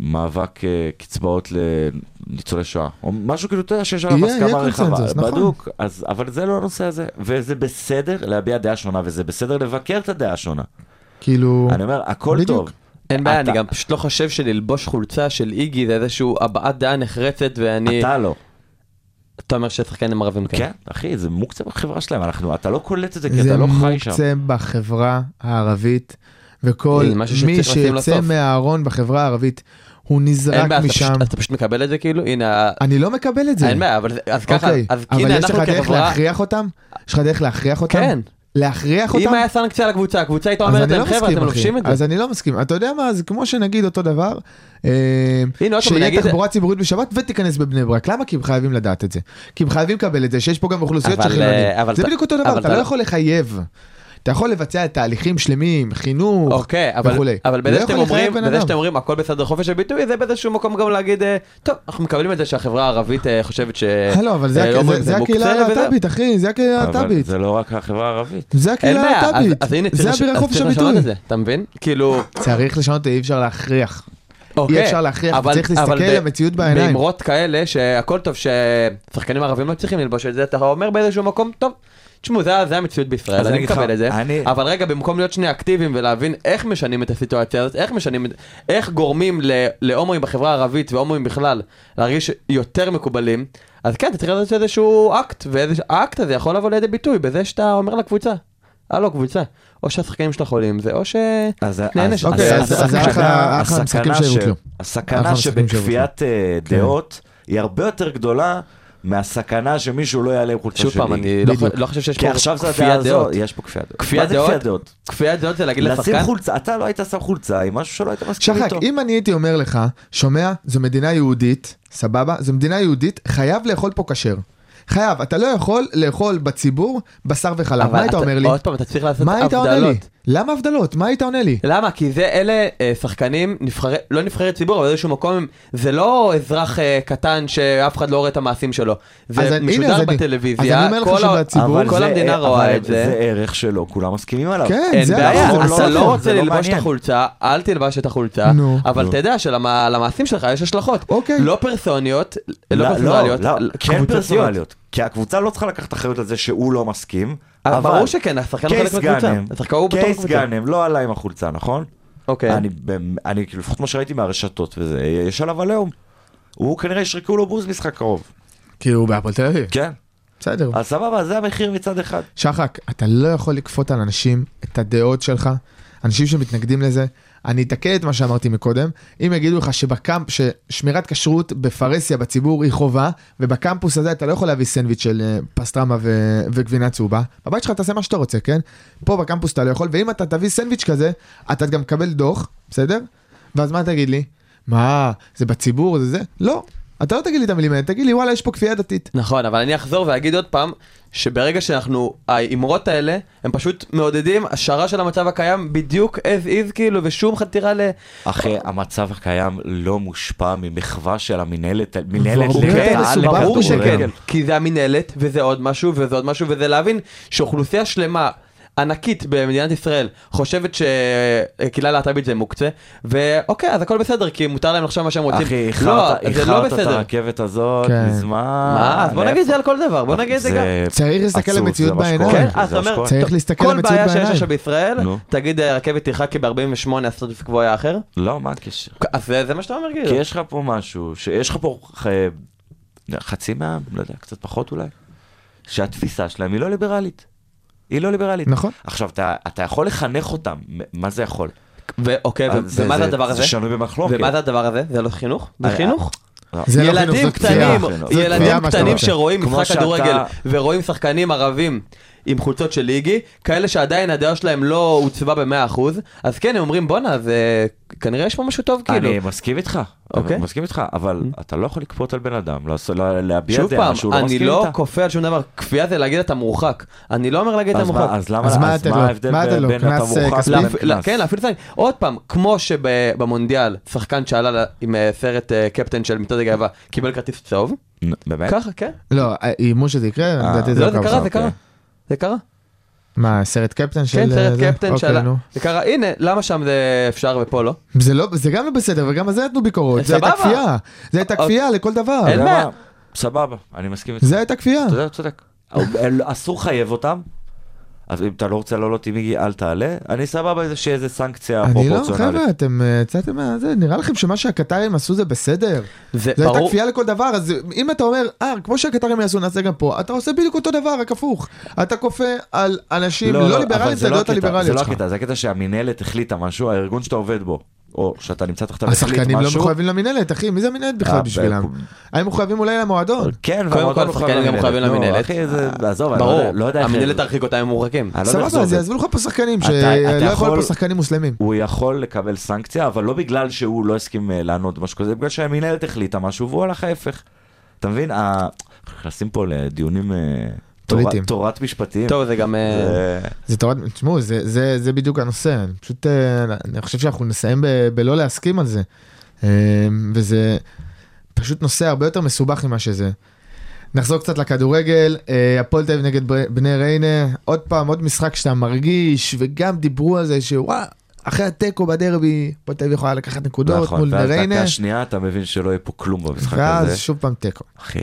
S7: למאבק אה, קצבאות לניצולי שואה, או משהו כאילו, אתה יודע שיש עליו
S5: יהיה- יהיה
S7: הסכמה רחבה.
S5: קונצנזוס, נכון.
S7: בדוק, אז- אבל זה לא הנושא הזה, וזה בסדר להביע דעה שונה, וזה בסדר לבקר את הדעה השונה.
S5: כאילו...
S7: אני אומר, הכל
S5: בדיוק.
S7: טוב.
S6: אין בעיה,
S7: אתה-
S6: אני גם פשוט לא חושב שללבוש חולצה של איגי זה איזשהו הבעת דעה נחרצת ואני...
S7: אתה לא.
S6: אתה אומר ששחקנים ערבים
S7: כן, אחי, זה מוקצה בחברה שלהם, אנחנו, אתה לא קולט את זה, כי
S5: זה
S7: אתה לא חי שם.
S5: מוקצה בחברה הערבית, וכל
S6: זה משהו
S5: מי
S6: שצריך לשים לו
S5: שיוצא
S6: סוף.
S5: מהארון בחברה הערבית, הוא
S6: אין
S5: נזרק
S6: בעיה, אתה
S5: משם.
S6: פשוט- אתה פשוט מקבל את זה כאילו? הנה,
S5: אני לא מקבל את זה.
S6: אין בעיה, אבל זה- אז ככה,
S5: אוקיי,
S6: אז
S5: אבל
S6: הנה
S5: יש לך
S6: אנחנו
S5: דרך
S6: כחברה,
S5: להכריח אותם? יש לך דרך להכריח אותם?
S6: כן.
S5: להכריח אותם?
S6: אם היה סנקציה על הקבוצה, הקבוצה הייתה
S5: אז
S6: אומרת
S5: אני
S6: להם
S5: לא
S6: חבר'ה,
S5: מסכים,
S6: אתם
S5: אחי.
S6: לובשים את זה.
S5: אז אני לא מסכים. אתה יודע מה, זה כמו שנגיד אותו דבר, אה,
S6: הנה, עוד פעם,
S5: שיהיה
S6: נגיד-
S5: תחבורה ציבורית בשבת ותיכנס בבני ברק. למה? כי הם חייבים לדעת את זה. כי הם חייבים לקבל את זה, שיש פה גם אוכלוסיות
S6: אבל,
S5: של חילונים.
S6: אה, אבל
S5: זה
S6: אתה-
S5: בדיוק אותו דבר,
S6: אבל
S5: אתה
S6: אתה-
S5: לא יכול לחייב. אתה יכול לבצע תהליכים שלמים, חינוך
S6: אוקיי, אבל,
S5: וכולי.
S6: אבל
S5: לא
S6: בזה
S5: יכול
S6: שאתם
S5: לחייב
S6: אומרים,
S5: בן
S6: בזה
S5: אדם.
S6: שאתם אומרים הכל בסדר חופש הביטוי, זה באיזשהו מקום גם להגיד, אה, טוב, אנחנו מקבלים את זה שהחברה הערבית אה, חושבת ש...
S5: הלו, לא, אבל זה
S6: אה,
S5: הק-
S6: הומואים
S5: זה- זה
S6: מוקצה,
S5: הקהילה
S6: וזה-
S5: הלהט"בית, אחי, זה הקהילה
S7: אבל
S5: הלהט"בית.
S7: זה לא רק החברה הערבית.
S5: זה
S6: אין
S5: הקהילה
S6: בעיה, אז-
S5: הלהט"בית.
S6: אז הנה,
S5: זה
S6: צריך לש-
S5: אבירי
S6: אז
S5: חופש
S6: צריך לשנות
S5: הביטוי.
S6: את זה, אתה מבין? כאילו,
S5: צריך לשנות, אי אפשר להכריח.
S6: אוקיי.
S5: אפשר להכריח,
S6: אבל-
S5: צריך להסתכל
S6: אבל ב-
S5: למציאות בעיניים.
S6: באמרות כאלה, שהכל טוב, ששחקנים ערבים לא צריכים ללבוש את זה, אתה אומר באיזשהו מקום, טוב. תשמעו, זה, זה המציאות
S7: אז
S6: בישראל,
S7: אני
S6: אני
S7: אגיד לך,
S6: מקבל את זה,
S7: אני-
S6: אבל רגע, במקום להיות שנייה אקטיביים ולהבין איך משנים את הסיטואציה הזאת, איך משנים, את- איך גורמים ל- להומואים בחברה הערבית והומואים בכלל להרגיש יותר מקובלים, אז כן, אתה צריך לעשות איזשהו אקט, והאקט הזה יכול לבוא לידי ביטוי בזה שאתה אומר לקבוצה, הלו קבוצה, או שהשחקנים שלך עולים עם זה, או ש...
S7: אז
S6: נענש.
S7: אז-
S5: אוקיי,
S7: אז
S5: אז- אז
S7: הסכנה-
S5: אחלה- אחלה
S7: הסכנה
S5: משחקים
S7: ש-
S5: שיבוטלו. אחלה
S7: הסכנה
S5: משחקים
S7: שבכפיית אה, דעות היא הרבה יותר גדולה מהסכנה שמישהו לא יעלה עם חולצה שלי.
S6: שוב פעם, אני לא
S5: בדיוק.
S6: חו- לא חושב שיש
S7: כי
S6: פה
S7: עכשיו זה הדעה
S6: כפיית
S7: הזאת,
S6: דעות.
S7: יש פה כפיית דעות.
S6: כפיית
S7: מה זה כפיית דעות?
S6: כפיית דעות זה להגיד
S7: לשים
S6: לשחקן,
S7: חולצה, אתה לא היית שם חולצה עם משהו שלא היית מסכים
S5: שחק,
S7: איתו.
S5: אם אני הייתי אומר לך, שומע, זו מדינה יהודית, סבבה? זו מדינה יהודית, חייב לאכול פה כשר. חייב, אתה לא יכול לאכול בציבור בשר וחלב. מה היית
S6: אתה-
S5: אומר לי?
S6: עוד פעם, אתה צריך לעשות
S5: מה היית עונה לי?
S6: הבדלות.
S5: למה הבדלות? מה היית עונה לי?
S6: למה? כי זה אלה אה, שחקנים, נבחרי, לא נבחרי ציבור, אבל איזשהו מקום, הם- זה לא אזרח אה, קטן שאף אחד לא רואה את המעשים שלו.
S5: אז
S6: זה
S5: אני- הנה,
S6: משודר
S5: אז אני- אז
S6: בטלוויזיה,
S5: אני אומר לך
S6: כל ה-
S5: שבציבור-
S6: כל
S7: זה- אה,
S6: המדינה
S7: אבל
S6: רואה את
S7: זה
S6: זה.
S7: ערך שלא כולם מסכימים עליו.
S5: כן,
S6: אין
S5: זה
S6: בעיה,
S5: אנחנו,
S6: אתה
S5: לא
S6: לא
S5: אנחנו,
S6: רוצה
S7: זה לא
S6: ללבוש את
S7: מעניין.
S6: החולצה, אל תלבש את החולצה,
S5: נו.
S6: אבל
S7: נו.
S6: תדע שלמעשים שלך יש השלכות.
S5: אוקיי.
S6: לא פרסוניות,
S7: לא,
S6: לא פרסונליות,
S7: לא, לא, כן
S6: קבוצתיות.
S7: פרסונליות. כי הקבוצה לא צריכה לקחת אחריות על זה שהוא לא מסכים.
S6: אבל
S7: אבל...
S6: אה, ברור שכן, השחקן הוא חלק
S7: קייס
S6: מהקבוצה.
S7: גאנם,
S6: השחקן הוא בתור
S7: קייס
S6: קבוצה.
S7: גאנם, לא עלה עם החולצה, נכון?
S6: אוקיי.
S7: אני, במ- אני, כאילו, לפחות מה שראיתי מהרשתות וזה, יש עליו עליהום. הוא כנראה ישרקו לו בוז משחק קרוב.
S5: כי הוא כאילו, בהפועל תל אביב.
S7: כן.
S5: בסדר.
S7: אז סבבה, זה המחיר מצד אחד.
S5: שחק, אתה לא יכול לכפות על אנשים את הדעות שלך, אנשים שמתנגדים לזה. אני אתקן את מה שאמרתי מקודם, אם יגידו לך שבקמפ, ששמירת כשרות בפרהסיה בציבור היא חובה, ובקמפוס הזה אתה לא יכול להביא סנדוויץ' של אה, פסטרמה ו... וגבינה צהובה, בבית שלך תעשה מה שאתה רוצה, כן? פה בקמפוס אתה לא יכול, ואם אתה תביא סנדוויץ' כזה, אתה גם תקבל דוח, בסדר? ואז מה תגיד לי? מה, זה בציבור, זה זה? לא. אתה לא תגיד לי את המילים האלה, תגיד לי וואלה, יש פה כפייה דתית.
S6: נכון, אבל אני אחזור ואגיד עוד פעם, שברגע שאנחנו, האמרות האלה, הם פשוט מעודדים השערה של המצב הקיים בדיוק as is כאילו, ושום חתירה ל...
S7: אחי, המצב הקיים לא מושפע ממחווה של המינהלת, מינהלת
S5: והרבה יותר
S7: ליגת העל
S5: מסובך
S6: כן, ברור
S7: לכדורגל.
S6: שכן, כי זה המינהלת, וזה עוד משהו, וזה עוד משהו, וזה להבין שאוכלוסייה שלמה... ענקית במדינת ישראל חושבת שקהילה להט"בית זה מוקצה ואוקיי אז הכל בסדר כי מותר להם לחשוב מה שהם רוצים.
S7: אחי,
S6: לא,
S7: איחרת
S6: זה לא
S7: איחרת את
S6: בסדר.
S7: הרכבת הזאת
S5: כן.
S7: מזמן.
S6: מה? אז בוא נגיד את זה על כל דבר בוא
S7: זה-
S6: נגיד את זה גם.
S5: צריך להסתכל
S7: עצוב,
S5: למציאות
S7: זה מה שקורה.
S5: בעיניים.
S6: כן,
S7: זה
S6: אז אתה
S7: מה
S6: אומר,
S7: שקורה.
S5: צריך להסתכל
S6: כל
S5: למציאות
S6: בעיה שיש
S5: בעיניים.
S6: עכשיו בישראל,
S7: נו.
S6: תגיד אה, רכבת תירחה כי ב-48 הסטטוס קוו היה אחר,
S7: לא, מה הקשר?
S6: אז זה זה מה שאתה אומר
S7: כי
S6: כאילו.
S7: יש לך פה משהו, שיש לך פה ח- חצי מהעם, לא יודע, קצת פחות אולי, שהתפיסה שלהם היא לא ליברלית. היא לא ליברלית.
S5: נכון.
S7: עכשיו, אתה, אתה יכול לחנך אותם, מ- מה זה יכול?
S6: ו- אוקיי, ו-
S7: אז זה-
S6: ומה זה
S7: זה-
S6: הדבר הזה?
S7: זה שנוי במחלוקת.
S6: ומה זה הדבר הזה? זה לא חינוך? זה
S7: אה,
S6: חינוך?
S7: לא.
S5: זה לא חינוך,
S6: ילדים
S5: זאת
S6: קטנים,
S7: כפייה. זאת
S5: כפייה,
S6: ילדים
S5: מה שאתה
S6: קטנים
S5: רוצה.
S6: שרואים
S7: כמו
S6: משחק
S7: שאתה-
S6: כדורגל ורואים שחקנים ערבים עם חולצות של ליגי, כאלה שעדיין הדעה שלהם לא הוצבה ב-100%, אז כן, הם אומרים בואנה, זה כנראה יש פה משהו טוב כאילו.
S7: אני מסכים איתך,
S6: אוקיי.
S7: אוקיי. מסכים איתך, אבל
S5: Mm.
S7: אתה לא יכול לכפות על בן אדם, לעשות- לה- להביע
S6: שוב
S7: דעה שהוא
S6: פעם,
S7: לא
S6: אני
S7: מסכים
S6: לא
S7: איתה.
S6: כופה על שום דבר, כפייה זה להגיד אתה מורחק. אני לא אומר להגיד אתה
S7: אז
S6: מורחק.
S7: מה- אז למה,
S5: אז מה
S7: אז
S5: אתה
S7: מה
S5: לא-
S7: ההבדל
S5: מה אתה
S7: בין
S5: לא?
S7: בין אתה
S5: קנס, אה,
S7: מורחק
S5: כספי?
S7: לבין
S6: להפ- לה-
S7: קנס?
S6: כן, להפעיל סנקציה. עוד פעם, כמו שבמונדיאל, שחקן שעלה ל- עם אה, סרט אה, קפטן של מצעד הגאווה, קיבל כרטיס צהוב,
S7: נ- באמת?
S6: ככה, כן.
S5: לא, איימו שזה יקרה, לדעתי
S6: זה
S5: זה
S6: לא,
S5: לא
S6: זה קרה,
S5: קרה.
S6: זה קרה. זה קרה.
S5: מה, סרט קפטן של...
S6: כן, סרט
S5: זה?
S6: קפטן
S5: אוקיי,
S6: שעלה.
S5: נו.
S6: זה קרה, הנה, למה שם זה אפשר ופה לא?
S5: זה לא, זה גם לא בסדר, וגם על זה נתנו ביקורות. זה הייתה
S6: אה, סבבה.
S5: כפייה. זה הייתה
S6: אוקיי.
S5: כפייה לכל דבר.
S6: אין
S7: אתה יודע
S6: בעיה.
S7: מה? סבבה, אני מסכים איתך.
S5: זה הייתה כפייה.
S7: אתה יודע, צודק. אסור לחייב אותם. אז אם אתה לא רוצה לעלות עם מיגי, אל תעלה. אני סבבה עם זה שיהיה איזה סנקציה
S5: אני לא,
S7: פרופורציונלית.
S5: חבר'ה, אתם אה, יצאתם מה... זה, נראה לכם שמה שהקטרים עשו זה בסדר?
S6: זה
S5: זה הייתה
S6: ברור.
S5: כפייה לכל דבר, אז אם אתה אומר, אה, כמו שהקטרים יעשו, נעשה גם פה, אתה עושה בדיוק אותו דבר, רק הפוך. אתה כופה על אנשים לא
S7: אבל
S5: ליברליים,
S7: זה
S5: זה
S7: לא
S5: הדעות
S7: הקטע, זה
S5: הליברליות
S7: לא
S5: שלך.
S7: הקטע, זה הקטע שהמינהלת החליטה משהו, הארגון שאתה עובד בו, או שאתה נמצא תחתיו, החליט משהו.
S5: השחקנים לא מחויבים למינהלת, אחי, מי זה המינהלת בכלל
S7: אה,
S5: בשבילם?
S7: ב-
S5: הם מחויבים אולי למועדון.
S7: כן,
S6: קודם
S7: והמועדון
S6: כל,
S7: מחויב
S6: השחקנים גם מחויבים
S7: לא,
S6: למינהלת. אה,
S7: אחי, זה, עזוב, אני לא
S6: ברור,
S7: יודע- לא יודע איך...
S6: המנהלת תרחיק אותם הם מורחקים.
S7: אני לא יודע איך זה
S5: סבבה, אז
S7: עובד.
S5: יעזבו לך פה שחקנים,
S7: אתה- אתה
S5: שלא יכול להיות
S7: יכול-
S5: פה שחקנים מוסלמים.
S7: הוא יכול לקבל סנקציה, אבל לא בגלל שהוא לא הסכים אה, לענות משהו כזה, בגלל שהמינהלת החליטה משהו והוא הלך ההפך. אתה מבין? ה- נכנסים פה לדיונים... אה, תורה-
S5: פוליטיים.
S7: תורת משפטים.
S6: טוב, זה גם... אה,
S7: אה,
S5: זה תורת, תשמעו, זה, זה, זה בדיוק הנושא, אני פשוט, אה, אני חושב שאנחנו נסיים ב, בלא להסכים על זה. אה, וזה פשוט נושא הרבה יותר מסובך ממה שזה. נחזור קצת לכדורגל, אה, הפועל תל אביב נגד בר- בני ריינה, עוד פעם, עוד משחק שאתה מרגיש, וגם דיברו על זה שוואו, אחרי התיקו בדרבי, הפועל תל אביב יכולה לקחת נקודות
S7: נכון,
S5: מול בני
S7: ואז
S5: ריינה,
S7: דקה שנייה אתה מבין שלא יהיה פה כלום במשחק הזה.
S5: ואז שוב פעם תיקו.
S7: אחי,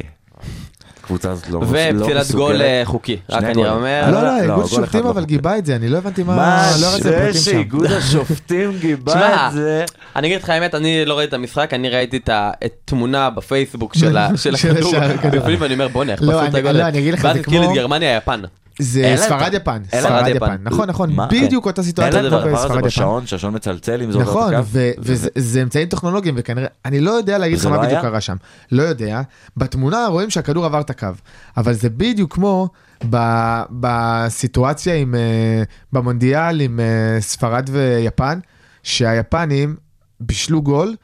S7: הקבוצה הזאת לא לא
S6: ופסילת גול
S7: מסוגלת.
S6: אה, חוקי,
S7: שני
S6: רק אני
S7: גולים.
S6: אומר.
S7: אה,
S5: לא,
S7: לא,
S5: לא,
S7: לא,
S5: איגוד
S7: גול אחד
S5: שופטים
S7: לא
S5: אבל
S7: חוקי.
S5: גיבה את זה, אני לא הבנתי מה,
S7: מה
S5: לא רצה
S7: זה
S5: פרטים שם.
S7: שאיגוד השופטים
S6: [LAUGHS]
S7: גיבה
S6: תשמע,
S7: את זה?
S6: אני אגיד לך האמת, אני לא ראיתי את המשחק, אני ראיתי את התמונה בפייסבוק של ה-
S5: [LAUGHS]
S6: של
S5: של
S6: הכדור.
S5: השער, הכדור.
S6: בפנים, ואני אומר, בוא'נה, איך
S5: לא,
S6: פסלו את
S5: אני-
S6: הגול.
S5: לא, אני אגיד לך,
S6: ואז
S5: זה
S6: הזכיר
S5: כמו-
S6: את גרמניה, יפן.
S5: זה
S7: אין להם
S5: ספרד
S7: את ה-
S5: יפן,
S7: אין להם
S5: ספרד
S6: את
S5: יפן,
S6: היפן.
S5: נכון נכון,
S7: מה?
S5: בדיוק אותה
S7: אין
S5: סיטואציה
S7: להם
S5: כמו
S7: דבר הזה
S5: בספרד יפן.
S7: בשעון, שהשעון מצלצל עם זה עובר את
S5: נכון,
S7: הקו.
S5: ו- וזה זה אמצעים טכנולוגיים וכנראה, אני לא יודע להגיד לך
S7: וזה
S5: מה
S7: לא
S5: בדיוק
S7: היה?
S5: קרה שם, לא יודע, בתמונה רואים שהכדור עבר את הקו, אבל זה בדיוק כמו ב- בסיטואציה עם, אה, במונדיאל עם אה, ספרד ויפן, שהיפנים בישלו גול,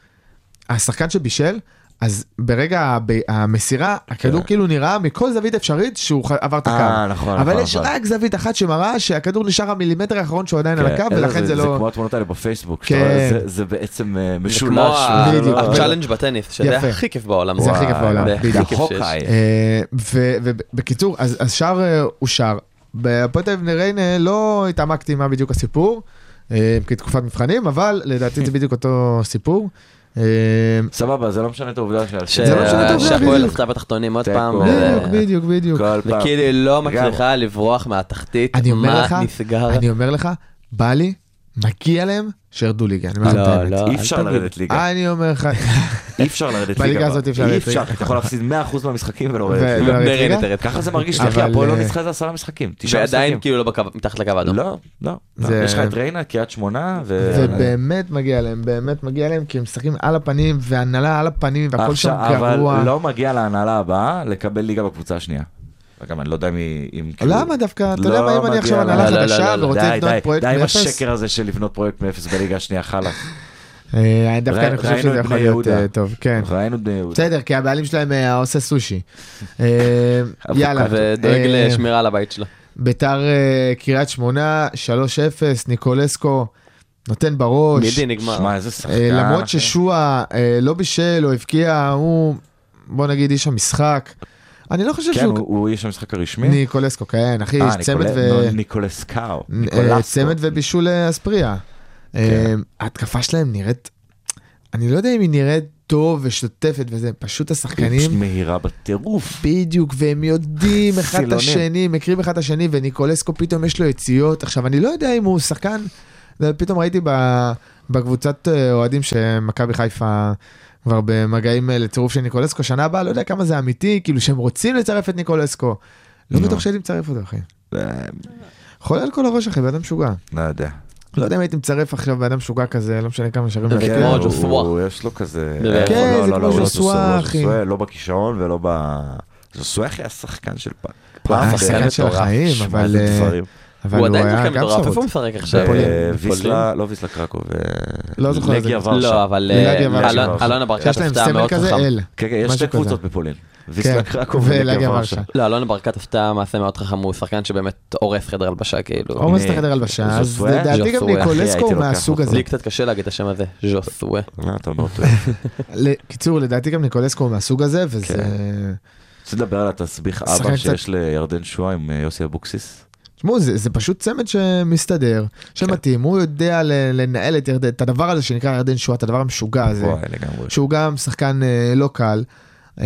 S5: השחקן שבישל, אז ברגע הב... המסירה, הכדור
S7: כן.
S5: כאילו נראה מכל זווית אפשרית שהוא ח... עבר את הקו.
S7: אה, נכון,
S5: אבל
S7: נכון,
S5: יש
S7: נכון.
S5: רק זווית אחת שמראה שהכדור נשאר המילימטר האחרון שהוא עדיין על
S7: כן,
S5: הקו,
S7: אלא
S5: ולכן זה
S7: זה כמו
S5: לא...
S7: התמונות האלה בפייסבוק,
S5: כן.
S7: שאתה רואה, זה- זה בעצם אה,
S6: זה
S7: משולש.
S6: כמו ה-
S7: וזה
S5: בדיוק.
S7: לא-
S6: הצ'אלנג' בטניס, שזה
S5: יפה.
S6: הכי כיף בעולם.
S5: זה הכי כיף
S6: וואי,
S5: בעולם,
S6: זה הכי
S5: בדיוק.
S6: כיף שיש.
S7: החוקאי.
S5: אה, ובקיצור, אז השער אושר. בהפועל תל אביב ריינה לא התעמקתי מה בדיוק הסיפור, אה, כתקופת מבחנים, אבל לדעתי זה בדיוק אותו סיפור. אה,
S7: סבבה, זה לא משנה את העובדה שה-
S6: ש-
S5: זה לא משנה את העובדה,
S6: שהפועל
S5: בדיוק. לא,
S6: עשתה בתחתונים עוד
S7: תיקו.
S6: פעם.
S5: בדיוק,
S6: וזה-
S5: בדיוק, בדיוק.
S7: אה, כל פעם.
S6: וכאילו היא לא
S7: לגמרי.
S6: מצליחה לברוח מהתחתית,
S5: אני אומר
S6: מה
S5: לך,
S6: נסגר?
S5: אני אומר לך, בא לי, מגיע להם, שירדו ליגה. אני אומר לך את
S6: לא,
S5: האמת.
S6: לא,
S7: אי
S6: אל
S7: אפשר
S6: תגיד.
S7: לרדת ליגה.
S5: אני אומר לך,
S7: אי אפשר לרדת ליגה.
S5: אה, בליגה הזאת אי אפשר
S7: אי
S5: לרדת ליגה.
S7: אפשר, אתה יכול להפסיד 100% מהמשחקים ולא
S5: ו-
S7: לרדת
S5: לא
S7: ליגה.
S5: לרדת
S6: מרד
S5: ליגה?
S6: את הרצף.
S7: ככה זה מרגיש לך, כי
S5: אבל,
S7: הפועל לא
S5: אה,
S7: ניצחה איזה עשרה משחקים. תשעה
S6: ועדיין
S7: משחקים.
S6: כאילו לא בקו- מתחת לקו האדום.
S7: לא, לא. לא.
S5: זה-
S7: יש לך את ריינה, קריית שמונה, ו...
S5: ובאמת מגיע להם, באמת מגיע להם, כי הם משחקים על הפנים, והנהלה על הפנים, והכל שם
S7: עכשיו,
S5: גרוע.
S7: אבל לא מגיע להנהלה הבאה לקבל ליגה בקבוצה השנייה. גם אני לא יודע מי- אם... כאילו-
S5: למה דווקא, אתה
S7: לא
S5: יודע מה, אם אני
S7: מגיע
S5: עכשיו
S7: לה.
S5: הנהלה
S6: לא, לא,
S5: חדשה
S6: לא, לא,
S5: ורוצה
S7: די,
S5: לבנות
S7: די,
S5: פרויקט
S7: די עם
S5: מאפס,
S7: השקר הזה של לבנות פרויקט מאפס בליגה השנייה, חלאס.
S5: אה, אני דווקא
S7: ראי-
S5: אני חושב
S7: ראינו
S5: שזה
S7: את
S5: יכול
S7: בני
S5: להיות
S7: יהודה.
S5: אה, טוב, כן.
S7: ראינו את בני יהודה.
S5: בסדר, כי הבעלים שלהם אה, עושה סושי. אה, יאללה.
S6: ודואג
S5: אה,
S6: לשמירה על הבית שלו.
S5: ביתר אה, קריית שמונה, 3-0, ניקולסקו נותן בראש.
S6: מידי נגמר.
S7: שמע, איזה שחקן.
S5: אה, למרות
S7: אחי.
S5: ששועה אה, לא בישל או הבקיע, הוא בוא נגיד איש המשחק. אני לא חושב
S7: כן,
S5: שהוא...
S7: הוא- הוא איש המשחק הרשמי?
S5: ניקולסקו, כן, אחי,
S7: אה,
S5: יש צמד
S7: ניקולא-
S5: ו...
S7: נו, ניקולסקאו.
S5: אה,
S7: ניקולסקו.
S5: צמד ובישול אה, אספריה. אה,
S7: כן.
S5: ההתקפה שלהם נראית, אני לא יודע אם היא נראית טוב ושוטפת וזה, פשוט
S7: היא פשוט
S5: השחקנים,
S7: מהירה בטירוף.
S5: בדיוק, והם יודעים אחד את
S7: סילונים.
S5: השני, מכירים אחד את השני, וניקולסקו פתאום יש לו יציאות. עכשיו, אני לא יודע אם הוא שחקן, פתאום ראיתי ב- בקבוצת אה, אוהדים שמכבי חיפה... כבר במגעים אה, לצירוף של ניקולסקו שנה הבאה, לא יודע כמה זה אמיתי, כאילו שהם רוצים לצרף את ניקולסקו. לא
S7: נו.
S5: בטוח שהייתי מצרף אותו, אחי.
S7: אה,
S5: חולה על כל הראש, אחי, בן אדם משוגע.
S7: לא יודע.
S5: לא יודע אם הייתי מצרף עכשיו בן אדם משוגע כזה, לא משנה כמה שערים.
S6: זה
S5: הוא
S7: כן,
S6: כמו
S7: הוא-
S6: ז'וסווה.
S7: הוא- יש לו כזה...
S6: זה
S7: אה,
S6: כמו
S7: לא, לא,
S5: כן, ז'וסווה,
S7: לא, הוא לא
S5: אחי.
S7: ז'וסווה, ז'וסווה, לא בכישרון ולא ב... ז'וסווה אחי היה שחקן של כן. פעם.
S6: אה,
S7: פעם
S5: היה
S7: אחי,
S5: שחקן
S7: היה
S5: של
S7: מטורף.
S5: החיים,
S7: שמע,
S5: אבל,
S7: איזה
S5: אה,
S7: דברים.
S5: אבל
S6: הוא עדיין שחקן
S5: גם
S6: מטורף,
S5: שרות.
S6: איפה הוא משחק עכשיו?
S7: אה, ויסלה, לא ויסלה קרקוב. אה,
S5: לא זוכר איזה
S7: לגיה
S5: קבוצה.
S7: ורשה.
S6: לא, אבל
S5: לגיא
S6: אה,
S5: ורשה.
S6: אלון- אלונה ברקת
S5: שיש להם
S6: הפתעה
S5: סמל
S6: מאוד
S5: כזה
S6: חכם.
S5: אל.
S7: כן, כן, יש
S5: משהו כזה.
S7: שתי קבוצות בפולין.
S5: כן,
S7: ויסלה קרקוב
S5: ולגיה
S7: ולגיה
S5: ורשה.
S7: ורשה.
S6: לא, אלונה ברקת עשתה מעשה מאוד חכם, הוא שחקן שבאמת הורס חדר הלבשה, כאילו.
S5: עומס את החדר הלבשה, אז
S7: ז'וסווה?
S5: לדעתי גם
S6: ז'וסווה, אחי,
S5: ניקולסקו
S7: לא הייתי
S5: הוא
S7: לוקח
S5: מהסוג
S7: אותו.
S5: הזה.
S6: לי קצת קשה להגיד את השם הזה, ז'וסווה.
S7: מה לא, אתה
S6: [LAUGHS]
S7: אומר? אותו?
S5: ל- קיצור, לדעתי גם ניקולסקו הוא מהסוג הזה, וזה...
S7: כן. רוצה לדבר על התסביך
S5: שחקן
S7: אבא
S5: קצת-
S7: שיש לירדן שואה עם אה, יוסי אבוקסיס?
S5: תשמעו, זה זה פשוט צמד שמסתדר, שמתאים, הוא יודע ל- לנהל את ירדן, את הדבר הזה שנקרא ירדן שואה, את הדבר המשוגע הזה,
S7: וואי, לגמרי.
S5: שהוא גם שחקן אה, לא קל. אה,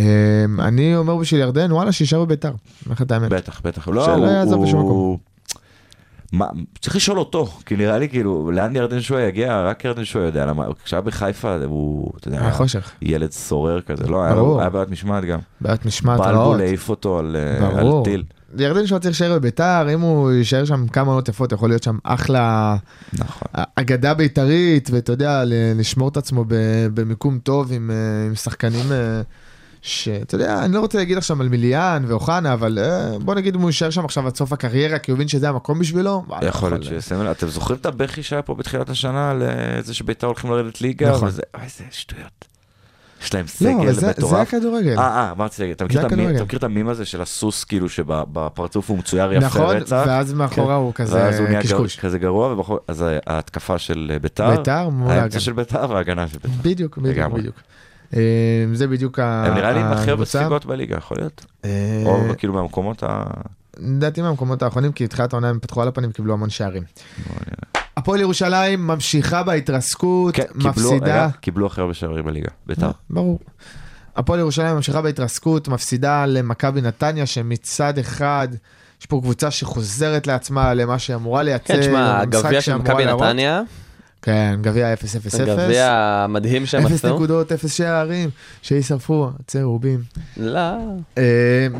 S5: אני אומר בשביל ירדן, וואלה, שיישאר בביתר. אני אומר לך את האמת.
S7: בטח, בטח. לא,
S5: שלא
S7: הוא-
S5: יעזוב בשום
S7: הוא-
S5: מקום.
S7: מה, צריך לשאול אותו, כי נראה לי כאילו, לאן ירדן שואה יגיע, רק ירדן שואה יודע למה, כשהיה בחיפה הוא, אתה יודע,
S5: היה חושך,
S7: ילד סורר כזה, לא, היה
S5: ברור.
S7: לו- היה בעיות משמעת גם.
S5: בעיית משמעת
S7: בלבול
S5: רעות.
S7: העיף אותו על אה, על
S5: ברור.
S7: טיל.
S5: ירדן שואה צריך להישאר בביתר, אם הוא יישאר שם כמה עונות יפות, יכול להיות שם אחלה
S7: נכון.
S5: אגדה בית"רית, ואתה יודע, ל- לשמור את עצמו ב- במיקום טוב עם, אה, עם שחקנים אה, שאתה יודע, אני לא רוצה להגיד עכשיו על מיליאן ואוחנה, אבל אה, בוא נגיד אם הוא יישאר שם עכשיו עד סוף הקריירה, כי הוא הבין שזה המקום בשבילו. וואלה,
S7: יכול להיות שיהיה סמל, אתם זוכרים את הבכי שהיה פה בתחילת השנה על אה, זה שביתר הולכים לרדת ליגה?
S5: נכון.
S7: וזה- אוי, איזה שטויות. יש להם
S5: לא, אבל
S7: סגל
S5: זה, זה
S7: מטורף.
S5: הכדורגל.
S7: אה, אה, אמרתי רגע, אתה
S5: זה
S7: מכיר את המי-
S5: הכדורגל.
S7: אתה מכיר את המים הזה של הסוס, כאילו שבפרצוף הוא מצויר יפה
S5: נכון,
S7: רצח? כן.
S5: ואז מאחורה הוא
S7: ואז הוא
S5: כזה
S7: נהיה
S5: קשקוש.
S7: גר- כזה גרוע, ובכל... אז ה- ההתקפה של אה, ביתר,
S5: ביתר מול
S7: האמצע
S5: ההגנה.
S7: של ביתר וההגנה של ביתר.
S5: בדיוק, בדיוק,
S7: לגמרי.
S5: בדיוק. אה, זה בדיוק ה-
S7: הם נראה לי עם הכי הרבה
S5: הקבוצה.
S7: ספיגות בליגה, יכול להיות.
S5: אה,
S7: או כאילו מהמקומות ה...
S5: לדעתי מהמקומות האחרונים, כי בתחילת העונה הם פתחו על הפנים, קיבלו המון שערים. הפועל ירושלים ממשיכה בהתרסקות,
S7: כן, קיבלו-
S5: מפסידה.
S6: אה,
S5: אה.
S7: היה- קיבלו הכי הרבה שערים בליגה, ביתר.
S5: ברור. הפועל ירושלים ממשיכה בהתרסקות, מפסידה למכבי נתניה, שמצד אחד, יש פה קבוצה שחוזרת לעצמה למה שהיא אמורה לייצר.
S6: כן, תשמע, הגביע
S5: המשחק
S6: של
S5: שהיא
S6: מכבי
S5: אמורה להראות.
S6: נתניה,
S5: כן, גביע 0-0-0.
S6: הגביע המדהים שהם
S5: 0
S6: עשו.
S5: נקודות, 0 שערים, שישרפו, צהובים.
S6: לא,
S5: אה,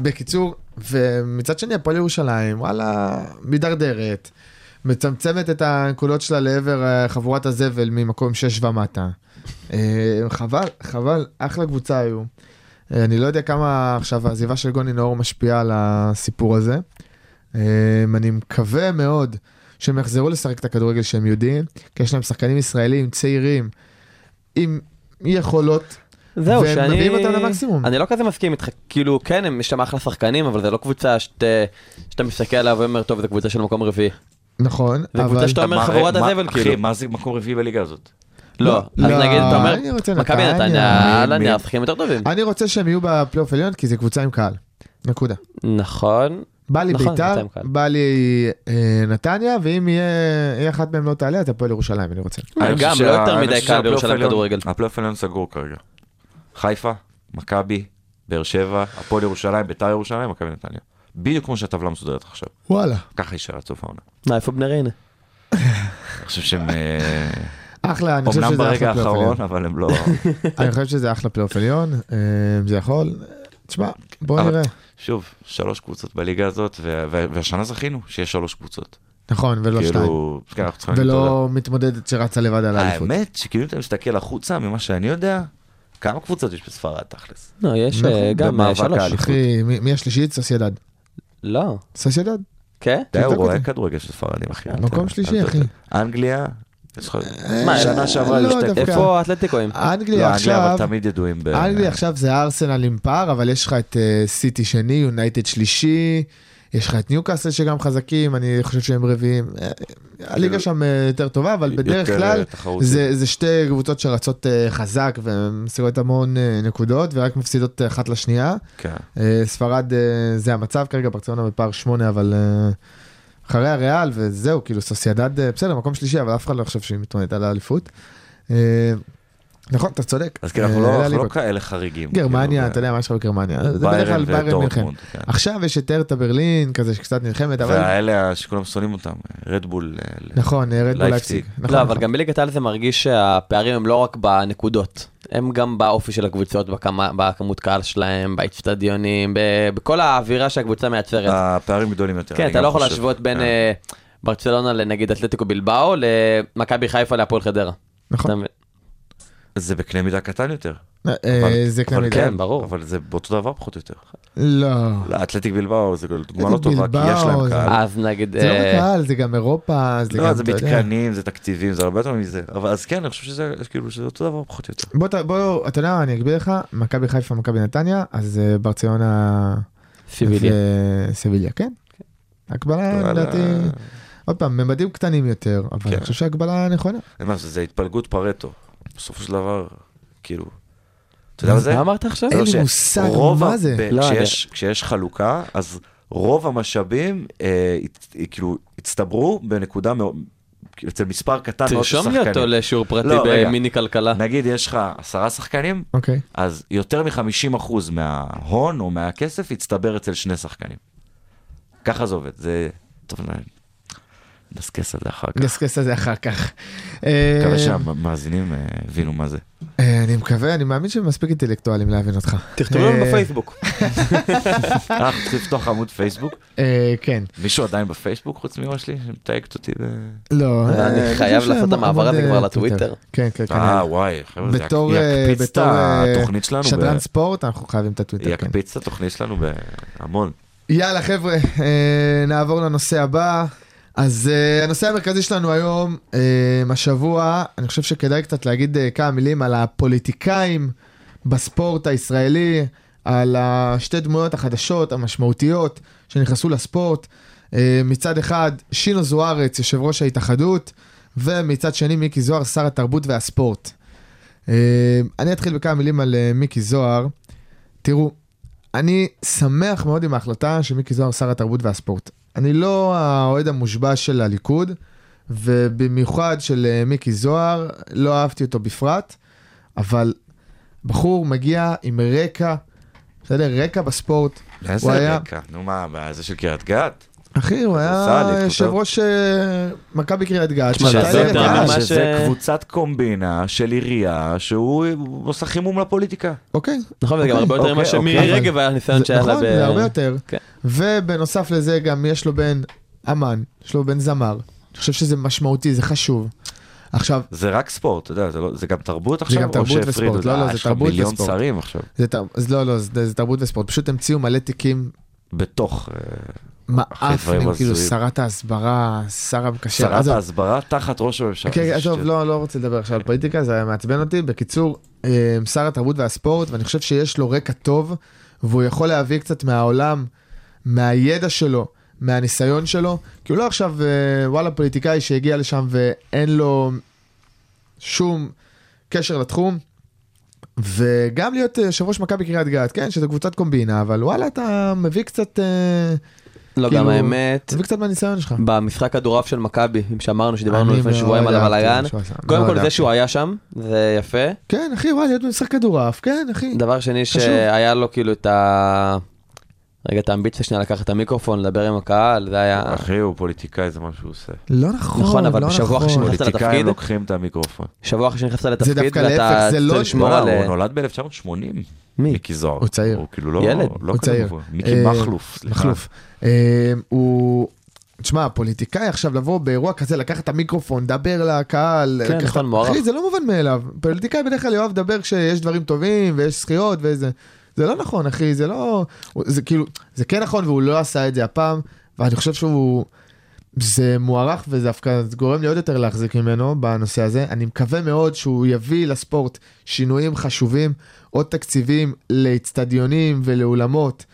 S5: בקיצור, ומצד שני הפועל ירושלים, וואלה, מידרדרת, מצמצמת את הנקודות שלה לעבר אה, חבורת הזבל ממקום 6 ומטה. אה, חבל, חבל, אחלה קבוצה היו. אה, אני לא יודע כמה עכשיו העזיבה של גוני נאור משפיעה על הסיפור הזה. אה, אני מקווה מאוד שהם יחזרו לשחק את הכדורגל שהם יודעים, כי יש להם שחקנים ישראלים צעירים עם יכולות
S6: זהו,
S5: והם
S6: שאני...
S5: מביאים אותם למקסימום.
S6: אני לא כזה מסכים איתך, כאילו, כן, הם- יש שם אחלה שחקנים, אבל זה לא קבוצה שאת, שאתה מסתכל עליה ואומר, טוב, זו קבוצה של מקום רביעי.
S5: נכון,
S6: זה
S5: אבל...
S6: קבוצה שאתה אומר
S7: מה-
S6: חבורת
S7: מה-
S6: הזבל,
S7: אחי,
S6: כאילו.
S7: מה זה מקום רביעי בליגה הזאת?
S6: לא, אז
S5: לא,
S6: נגיד, אתה אומר,
S5: אני רוצה
S6: מכבי
S5: נתניה.
S6: נתניה, על
S5: מי-
S6: הנייר, שחקים יותר טובים.
S5: אני רוצה שהם יהיו בפלייאוף עליון, כי זה קבוצה עם קהל. נקודה.
S6: נכון.
S5: בא לי
S6: נכון,
S5: ביתר,
S6: קבוצה עם קהל.
S5: בא לי אה, נתניה, ואם יהיה יהיה אחת מהם לא תעלה, אז הפועל ירושלים, אני רוצה.
S7: אני
S6: גם,
S7: חושב
S6: לא
S7: שה-
S6: יותר
S7: אני
S6: מדי
S7: חושב
S6: קל
S7: שהפלייאוף
S6: בירושלים
S7: העליון-
S6: כדורגל.
S7: הפלייאוף העליון סגור כרגע. חיפה, מכבי, באר שבע, הפועל ירושלים, ביתר ירושלים, מכבי נתניה. בדיוק כמו שהטבלה מסודרת עכשיו.
S5: וואלה.
S7: ככה יישאר עד סוף העונה.
S6: מה, איפה בני ריינה?
S7: אני חושב שהם... אה,
S5: אחלה, אני חושב
S7: אומנם
S5: שזה
S7: ברגע
S5: אחלה פלייאוף עליון.
S7: האחרון, אבל הם לא...
S5: אני חושב שזה אחלה פלייאוף עליון, אה, זה יכול. תשמע, בוא
S7: אבל-
S5: נראה.
S7: שוב, שלוש קבוצות בליגה הזאת, ו- ו- והשנה זכינו שיש שלוש קבוצות.
S5: נכון, ולא שתיים.
S7: כאילו, כן, אנחנו צריכים להגיד תודה.
S5: ולא מתמודדת שרצה לבד על האליפות.
S7: האמת שכאילו אם אתה מסתכל החוצה ממה שאני יודע, כמה קבוצות יש בספרד תכלס?
S6: לא, יש
S5: נכון,
S6: אה, גם אה,
S7: במאבק
S6: שלוש.
S7: האליפות.
S5: אחי, מי מי השלישית? סוסיידד.
S6: לא.
S5: סוסיידד.
S6: כן?
S7: אתה יודע, הוא
S5: תבדוק
S7: רואה
S5: אותי.
S7: כדורגל של ספרדים אחי.
S5: מקום
S7: אתה-
S5: שלישי,
S7: אתה-
S5: אחי.
S7: אנגליה, יש לך-
S6: מה,
S7: שנה שעברה היו
S5: לא,
S7: שתי...
S5: דווקא-
S6: איפה האתלטיקואים?
S7: לא,
S5: אנגליה
S7: אנגליה
S5: עכשיו,
S7: אבל תמיד ידועים ב...
S5: אנגליה עכשיו זה ארסנל עם פער, אבל יש לך את אה, סיטי שני, יונייטד שלישי, יש לך את ניוקאסל שגם חזקים, אני חושב שהם רביעים. אה, הליגה שם אה, יותר טובה, אבל בדרך
S7: כן. יותר,
S5: כלל
S7: אה, תחרותית.
S5: זה זה שתי קבוצות שרצות אה, חזק ומשיגות המון אה, נקודות ורק מפסידות אה, אחת לשנייה.
S7: כן.
S5: אה, ספרד אה, זה המצב כרגע, ברצלונה בפער שמונה, אבל אה, אחרי הריאל וזהו, כאילו סוסיידד, אה, בסדר, מקום שלישי, אבל אף אחד לא חושב שהיא מתמודדת על האליפות. אה, נכון, אתה צודק.
S7: אז כאילו אנחנו
S5: אה,
S7: לא-
S5: אלה
S7: אנחנו לא
S5: הליגות.
S7: כאלה חריגים.
S5: גרמניה,
S7: כאילו,
S5: אתה יודע מה יש לך בגרמניה, זה בדרך
S7: ביירן
S5: כלל ביירן אה, מלחם.
S7: ודורטמונד. כן.
S5: עכשיו יש את ארתה ברלין, כזה שקצת נלחמת, אבל
S7: והאלה שכולם שונאים אותם, רדבול. אה, ל-
S5: נכון, אה, רדבול
S7: לייפציג.
S5: לייפציג. נכון,
S6: לא, אבל
S5: נכון.
S6: גם בליגת העל זה מרגיש שהפערים הם לא רק בנקודות, הם גם באופי של הקבוצות, בכמה- בכמות קהל שלהם, באצטדיונים, ב- בכל האווירה שהקבוצה
S5: אה,
S6: מייצרת.
S7: אה, הפערים גדולים יותר.
S6: כן,
S7: אני
S6: אתה
S7: גם
S6: לא יכול
S7: חושב.
S6: להשוות בין
S7: כן.
S6: אה, ברצלונה לנגיד אתלטיקו בלבאו, למכבי חיפה להפועל חדרה.
S5: נכון.
S6: אתה מבין?
S7: זה בקנה מידה קטן יותר.
S5: אה,
S7: אבל-
S5: אה, זה
S7: אבל
S5: קנה מידה.
S6: כן, ברור.
S7: אבל זה באותו דבר פחות או יותר.
S5: לא.
S7: לא, אתלטיק בלבאו זה דוגמה לא
S5: אתלטיק
S7: טובה, כי יש
S5: בלבאו,
S7: להם
S5: זה-
S7: קהל.
S6: אז נגיד...
S5: זה לא
S6: אה,
S5: בקהל, זה גם אירופה, זה גם,
S7: לא, זה
S5: אתה יודע.
S7: מתקנים, זה תקציבים, זה הרבה יותר מזה. אבל אז כן, אני חושב שזה כאילו שזה אותו דבר פחות או יותר.
S5: בוא, ת- בוא, אתה יודע מה, אני אגביר לך, מכבי חיפה, מכבי נתניה, אז אה, ברציונה...
S6: סיביליה.
S5: סיביליה, כן. הקבלה,
S7: אבל,
S5: לדעתי,
S7: אה,
S5: עוד פעם, ממדים קטנים יותר, אבל אני
S7: כן.
S5: חושב שההקבלה נכונה.
S7: אין מה, לעשות, זה התפלגות פרטו. בסופו של דבר, כאילו, אתה יודע מה זה?
S6: מה אמרת עכשיו?
S7: זה לא
S5: אין לי
S7: ש-
S5: מושג
S7: רוב
S5: מה
S7: ה-
S5: זה.
S7: ב-
S6: לא
S7: כשיש- כשיש חלוקה, אז רוב המשאבים אה, הת- כאילו הצטברו בנקודה מאוד, כאילו, אצל מספר
S5: אה,
S7: קטן מאוד של
S6: תרשום לי אותו
S7: שחקנים.
S6: לשיעור פרטי
S7: לא, רגע.
S6: במיני כלכלה.
S7: נגיד יש לך עשרה שחקנים,
S5: אוקיי.
S7: אז יותר מ-50% מההון או מהכסף יצטבר אצל שני שחקנים. ככה זה עובד, זה... טוב, נ- נדסקס על זה אחר כך.
S5: נדסקס על זה אחר כך. אה,
S7: מקווה שהמאזינים אה, הבינו מה זה.
S5: אה, אני מקווה, אני מאמין שהם מספיק אינטלקטואלים להבין אותך.
S6: תכתבו
S5: אה,
S6: לנו בפייסבוק.
S7: אה, אנחנו צריכים לפתוח עמוד פייסבוק?
S5: אה, כן.
S7: מישהו עדיין בפייסבוק חוץ מאמא שלי שמתייגת אותי ב...
S5: לא.
S6: אני
S5: אה, אני
S6: חייב
S5: חושב
S6: לעשות את
S5: שהם
S6: המעבר הזה
S5: עמוד,
S6: כבר
S5: אה,
S6: לטוויטר.
S5: טוויטר. כן, כן, כן.
S7: אה, וואי, חבר'ה, זה
S5: בתור, אה,
S7: יקפיץ את
S5: בתור, אה,
S7: התוכנית שלנו. ב-
S5: שדרן ספורט, אנחנו חייבים את הטוויטר. כן.
S7: יקפיץ את התוכנית שלנו בהמון.
S5: יאללה חבר'ה, אה, נעבור לנושא הבא. אז אה, הנושא המרכזי שלנו היום, אה, השבוע, אני חושב שכדאי קצת להגיד אה, כמה מילים על הפוליטיקאים בספורט הישראלי, על השתי דמויות החדשות המשמעותיות שנכנסו לספורט. אה, מצד אחד, שינו זוארץ, יושב ראש ההתאחדות, ומצד שני, מיקי זוהר, שר התרבות והספורט. אה, אני אתחיל בכמה מילים על אה, מיקי זוהר. תראו, אני שמח מאוד עם ההחלטה שמיקי זוהר שר התרבות והספורט. אני לא האוהד המושבע של הליכוד, ובמיוחד של אה, מיקי זוהר, לא אהבתי אותו בפרט, אבל בחור מגיע עם רקע, בסדר? רקע בספורט.
S7: איזה
S5: היה-
S7: רקע? נו מה, מה, זה של קריית גת?
S5: אחי, הוא
S7: סאלי,
S5: היה
S7: כותב.
S5: יושב ראש אה, מכבי קריית גת.
S6: לא? תשמע, זה
S5: שהייתה
S6: הרבה
S5: ליגת
S6: יותר
S5: העל.
S6: ממה ש-
S7: שזה קבוצת קומבינה של עירייה שהוא עושה חימום לפוליטיקה.
S5: אוקיי,
S6: נכון, וזה גם הרבה יותר ממה
S7: אוקיי,
S6: שמירי
S5: אוקיי.
S6: רגב היה ניסיון שהיה
S5: זה-
S6: לה
S5: נכון,
S6: ב-
S5: זה הרבה יותר.
S6: כן.
S5: ובנוסף לזה גם יש לו בן אמן, יש לו בן זמר. אני חושב שזה משמעותי, זה חשוב. עכשיו,
S7: זה רק ספורט, אתה יודע, זה, לא, זה גם תרבות עכשיו,
S5: גם תרבות
S7: או שהפרידו?
S5: וספורט,
S7: אתה
S5: לא,
S7: יודע,
S5: לא, זה
S7: יש לך
S5: תרבות
S7: מיליון
S5: וספורט.
S7: שרים עכשיו,
S5: זה, תר... אז לא, לא, זה, זה תרבות וספורט. פשוט המציאו מלא תיקים
S7: בתוך, אה, אחי, דברים
S5: מעפנים, כאילו
S7: הזויים.
S5: שרת ההסברה, שר המקשר,
S7: שרת
S5: עזוב.
S7: ההסברה תחת ראש הממשלה.
S5: כן,
S7: איזה
S5: כן, טוב,
S7: שטויות.
S5: לא, לא רוצה לדבר עכשיו על פוליטיקה, זה היה מעצבן אותי. בקיצור, אה, שר התרבות והספורט, ואני חושב שיש לו רקע טוב, והוא יכול להביא קצת מהעולם, מהידע שלו, מהניסיון שלו, כי הוא לא עכשיו אה, וואלה פוליטיקאי שהגיע לשם ואין לו שום קשר לתחום. וגם להיות אה, יושב ראש מכבי קריית גת, כן, שזו קבוצת קומבינה, אבל וואלה, אתה מביא קצת, אה,
S6: לא,
S5: כאילו-
S6: גם האמת,
S5: מביא קצת מהניסיון שלך.
S6: במשחק כדורעף של מכבי, אם שאמרנו שדיברנו
S5: אני
S6: לפני
S5: מאוד
S6: שבועיים על
S5: אהבתי מה
S6: הבלאגן,
S5: שהוא עשה,
S6: קודם
S5: מאוד
S6: כל זה
S5: אהבתי.
S6: שהוא היה שם, זה יפה.
S5: כן, אחי, וואלה, להיות במשחק כדורעף, כן, אחי.
S6: דבר שני
S5: חשוב.
S6: שהיה לו כאילו את ה... רגע, את האמביציה שנייה לקחת את המיקרופון, לדבר עם הקהל, זה היה...
S7: אחי, הוא פוליטיקאי, זה מה שהוא עושה.
S5: לא נכון,
S6: נכון, אבל
S5: לא
S6: בשבוע
S5: נכון.
S6: אחרי שנכנסת לתפקיד?
S7: פוליטיקאים לוקחים את המיקרופון.
S6: שבוע אחרי שנכנסת לתפקיד,
S5: דווקא
S6: ואתה
S5: להפך, זה
S6: צריך
S5: לא-
S6: לשמור
S7: לא,
S6: על...
S7: הוא נולד ב-1980.
S6: אה, מי?
S7: מיקי זוהר.
S5: הוא צעיר.
S7: הוא כאילו לא...
S6: ילד.
S7: לא
S5: הוא
S7: כזה
S5: צעיר.
S7: מבוגר. מיקי
S5: אה,
S7: מכלוף. סליחה.
S5: מכלוף. אה, הוא... תשמע, פוליטיקאי עכשיו לבוא באירוע כזה, לקחת את המיקרופון, לדבר לקהל.
S6: כן,
S5: לקחת-
S6: נכון, מוערך.
S5: אחי, זה לא מובן מאליו. פוליטיקאי בדרך כלל יאהב לדבר כשיש דברים טובים ויש זכיות וזה. זה לא נכון, אחי, זה לא... הוא- זה כאילו, זה כן נכון והוא לא עשה את זה הפעם, ואני חושב שהוא... זה מוערך וזה דווקא זה גורם לי עוד יותר להחזיק ממנו בנושא הזה. אני מקווה מאוד שהוא יביא לספורט שינויים חשובים, עוד תקציבים לאצטדיונים ולאולמות,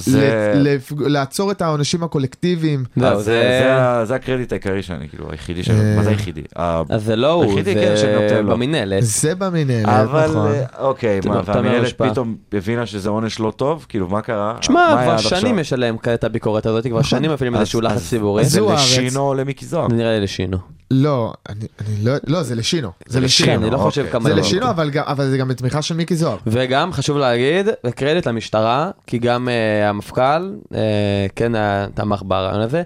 S7: זה-
S5: ל- לפ- לעצור את העונשים הקולקטיביים.
S6: לא,
S7: אז אה,
S6: זה-
S7: זה- זה ה- זה הקרדיט העיקרי שאני, כאילו, היחידי שאני...
S5: אה.
S7: מה זה היחידי? ה-
S6: אז זה לא הוא,
S7: היחידי, כן, שאני
S6: זה
S7: נותן לו.
S6: במינהלת.
S5: זה במנהלת,
S7: אבל
S5: נכון.
S7: אה, אוקיי,
S6: אתה
S7: מה,
S6: אומר, אתה אומר
S7: והמנהלת
S6: השפעה.
S7: פתאום הבינה שזה עונש לא טוב? כאילו, מה קרה?
S6: תשמע,
S7: מה היה
S6: כבר
S7: עד עכשיו?
S6: שנים יש עליהם כ- את הביקורת הזאת,
S5: נכון.
S6: כבר שנים מפעילים
S7: אז-
S6: איזשהו לחץ
S7: אז-
S6: ציבורי.
S7: אז זה
S5: זו הארץ.
S7: לשינו או למיקי זוהר?
S6: זה נראה לי לשינו.
S5: לא, אני אני לא, לא, זה לשינו. זה לשינו.
S6: כן, אני לא
S7: אוקיי.
S6: חושב כמה...
S5: זה
S6: לא-
S5: לשינו, אבל גם- אבל זה גם בתמיכה של מיקי זוהר.
S6: וגם חשוב להגיד, וקרדיט למשטרה, כי גם uh, המפכ"ל uh, כן היה תמך ברעיון הזה,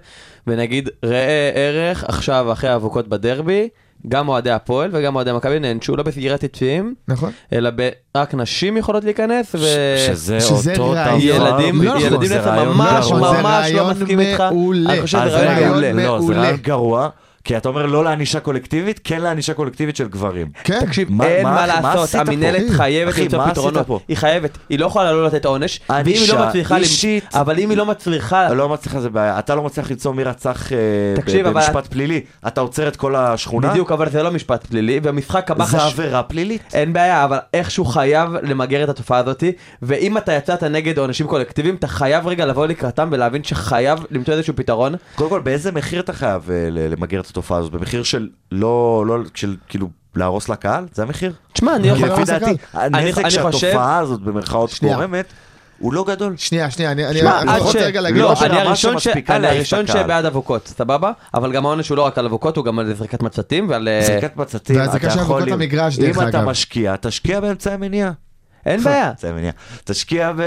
S6: ונגיד ראה ערך עכשיו אחרי האבוקות בדרבי, גם אוהדי הפועל וגם אוהדי מכבי נענשו לא בסגירת יציאים,
S5: נכון?
S6: אלא ב- רק נשים יכולות להיכנס, ו...
S7: ש- שזה
S5: שזה
S7: אה, אותו דבר.
S5: רעיון.
S6: ילדים,
S5: לא נכון,
S6: ילדים
S7: זה
S6: לפעמים
S7: רעיון
S6: ממש
S7: גרוע.
S5: זה
S6: ממש לא
S5: רעיון
S6: מסכים איתך.
S5: מעולה.
S6: אני חושב
S7: אה,
S6: שזה
S7: זה
S6: רעיון
S7: רעיון
S6: מעולה.
S7: מעולה. לא, זה
S5: מעולה.
S7: רעיון גרוע, כי אתה אומר לא לענישה קולקטיבית, כן לענישה קולקטיבית של גברים.
S5: כן.
S6: תקשיב,
S7: מה-
S6: אין
S7: מה-
S6: מה
S7: מה
S6: לעשות,
S7: עשית פה?
S6: המינהלת
S7: אחי,
S6: חייבת
S7: אחי,
S6: למצוא
S7: מה עשית
S6: פתרונות.
S7: פה?
S6: היא חייבת, היא לא יכולה לא לתת עונש, ואם היא לא
S7: ענישה
S6: מצליחה, למ-
S7: אישית.
S6: אבל אם היא לא מצליחה,
S7: לא מצליח זה בעיה, אתה לא מצליח למצוא מי רצח אה, ב-
S6: תקשיב, אבל-
S7: במשפט פלילי, אתה עוצר את כל השכונה,
S6: בדיוק, אבל זה לא משפט פלילי, והמשחק הבא
S7: זה
S6: חשוב.
S7: עבירה פלילית.
S6: אין בעיה, אבל איכשהו חייב למגר את התופעה הזאת, ואם אתה יצאת נגד עונשים קולקטיביים, אתה חייב רגע לבוא לקראתם ולהבין שחייב למצוא איזשהו פתרון.
S7: קודם כל, באיזה מחיר אתה חייב אה, ל- למגר את התופעה הזאת? במחיר של לא, לא, של כאילו להרוס לקהל? זה המחיר?
S6: תשמע, אני לא
S7: כי
S6: חושב...
S5: להרוס
S7: לפי דעתי,
S6: אני- אני
S7: הנזק
S6: חושב-
S7: שהתופעה הזאת במרכאות
S5: שנייה.
S7: גורמת, הוא לא גדול.
S5: שנייה, שנייה, אני- אני
S6: תשמע,
S5: אני
S6: עד
S5: רוצה
S6: ש-
S5: רגע להגיד
S6: לא,
S5: משהו.
S6: אני
S7: ברמה
S6: הראשון ש-
S7: שמספיקה
S6: אני
S7: להעיף
S6: הראשון
S7: את הקהל.
S6: שבעד אבוקות, סבבה? אבל גם העונש הוא לא רק על אבוקות, הוא גם על זריקת מצתים ועל... אה,
S7: זריקת מצתים,
S5: והזריקה
S7: אתה
S5: של אבוקות
S7: יכול...
S5: למגרש, דרך
S7: אם אתה
S5: אגב.
S7: משקיע, תשקיע באמצעי מניעה.
S6: אין בעיה.
S7: זה מניע. תשקיע ב...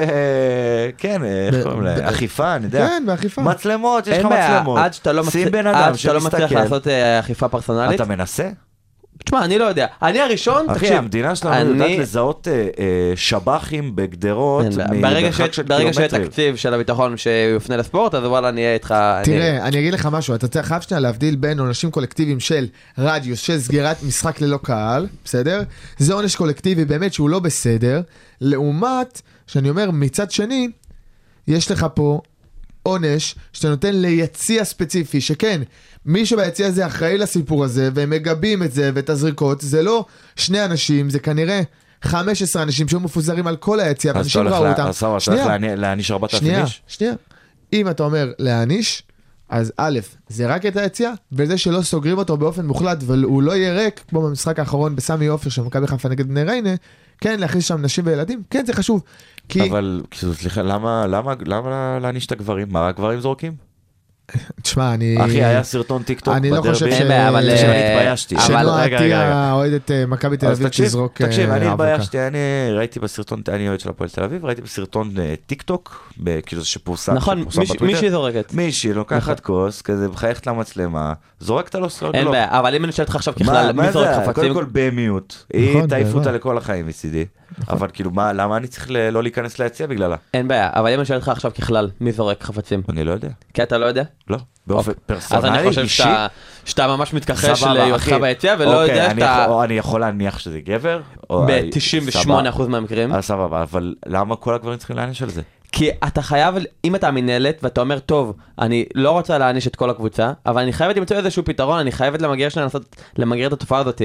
S7: כן, איך
S5: ב-
S7: קוראים
S5: ב-
S7: לזה? אכיפה, אני יודע.
S5: כן, באכיפה.
S7: מצלמות, יש לך
S6: אין בעיה,
S7: מצלמות.
S6: עד שאתה לא מצליח-
S7: שים בן
S6: עד
S7: אדם
S6: שאתה לא מצליח
S7: שמסתכל.
S6: לעשות אה, אכיפה פרסונלית.
S7: אתה מנסה?
S6: תשמע, אני לא יודע. אני הראשון,
S7: אחי,
S6: תקשיב.
S7: המדינה שלנו
S6: אני-
S7: יודעת לזהות אה, אה, שב"חים בגדרות
S6: אין בעיה. ברגע
S7: ממרחק
S6: שיש-
S7: של
S6: ברגע שיהיה
S7: קילומטרים.
S6: תקציב של הביטחון שיופנה לספורט, אז וואלה, אני אהיה איתך... אני-
S5: תראה, אני אגיד לך משהו, אתה צריך- חייב שנייה להבדיל בין עונשים קולקטיביים של רדיוס, של סגירת משחק ללא קהל, בסדר? זה עונש קולקטיבי באמת שהוא לא בסדר, לעומת, שאני אומר, מצד שני, יש לך פה עונש שאתה נותן ליציע ספציפי, שכן, מי שביציע הזה אחראי לסיפור הזה, והם מגבים את זה ואת הזריקות, זה לא שני אנשים, זה כנראה 15 אנשים שהיו מפוזרים על כל היציע,
S7: אז אתה
S5: ואנשים
S7: הולך
S5: ראו
S7: לה-
S5: אותם.
S7: אז סבבה, אתה
S5: שנייה.
S7: הולך להעני- להעניש 4,000 איש?
S5: שנייה, שנייה. אם אתה אומר להעניש, אז א', זה רק את היציאה, וזה שלא סוגרים אותו באופן מוחלט, והוא לא יהיה ריק, כמו במשחק האחרון בסמי עופר של מכבי חיפה נגד בני ריינה, כן, להכניס שם נשים וילדים, כן, זה חשוב. כי,
S7: אבל, כאילו, סליחה, למה- למה למה להעניש את הגברים? מה, רק גברים זורקים?
S5: תשמע, אני...
S7: אחי, היה סרטון טיק טוק
S5: אה, אני לא חושב
S7: בדרבי.
S5: ש-
S6: אין בעיה, אבל...
S7: תקשיב,
S6: אה,
S7: אני התביישתי.
S6: אבל...
S5: שנועה
S7: רגע, רגע, רגע.
S5: עטיה, אוהדת אה, מכבי תל
S7: אז
S5: אביב,
S7: תקשיב,
S5: תזרוק אה,
S7: תקשיב, אני
S5: אבוקה.
S7: התביישתי, אני ראיתי בסרטון, אני אוהד של הפועל תל אביב, ראיתי בסרטון אה, טיק טוק, ב- כאילו זה שפורסם,
S6: נכון,
S7: שפורסם
S6: מישהי-
S7: בטוויטר.
S6: מישהי זורקת.
S7: מישהי לוקחת כוס, כזה מחייכת למצלמה, זורקת על לא. הסרגלו.
S6: נכון. אין בעיה, אבל אם אני שואל אותך עכשיו ככלל, מי זורק חפצים?
S7: קודם כל במיוט, היא
S5: נכון,
S7: תעיף
S5: בעבר.
S7: אותה לכל החיים מצידי, אבל כאילו מה, למה אני צריך ל- לא להיכנס ליציע בגללה?
S6: אין בעיה, אבל אם אני שואל אותך עכשיו ככלל, מי זורק חפצים?
S7: אני לא יודע,
S6: כי אתה לא יודע?
S7: לא, באופן
S6: אוקיי. אז אני
S7: פרסונלי,
S6: חושב
S7: אישי,
S6: שאתה- שאתה ממש מתכחש
S7: סבבה,
S6: להיותך
S7: אחי.
S6: ביציע ולא
S7: אוקיי,
S6: יודע
S7: אני
S6: שאתה
S7: יכול- אני יכול להניח שזה גבר, או- סבבה.
S6: ב-98% מהמקרים.
S7: אז סבבה, אבל למה כל הגברים צריכים להעניש על זה?
S6: כי אתה חייב, אם אתה המינהלת ואתה אומר, טוב, אני לא רוצה להעניש את כל הקבוצה, אבל אני חייבת למצוא איזשהו פתרון, אני חייבת למגר שלה לנסות למגר את התופעה הזאת.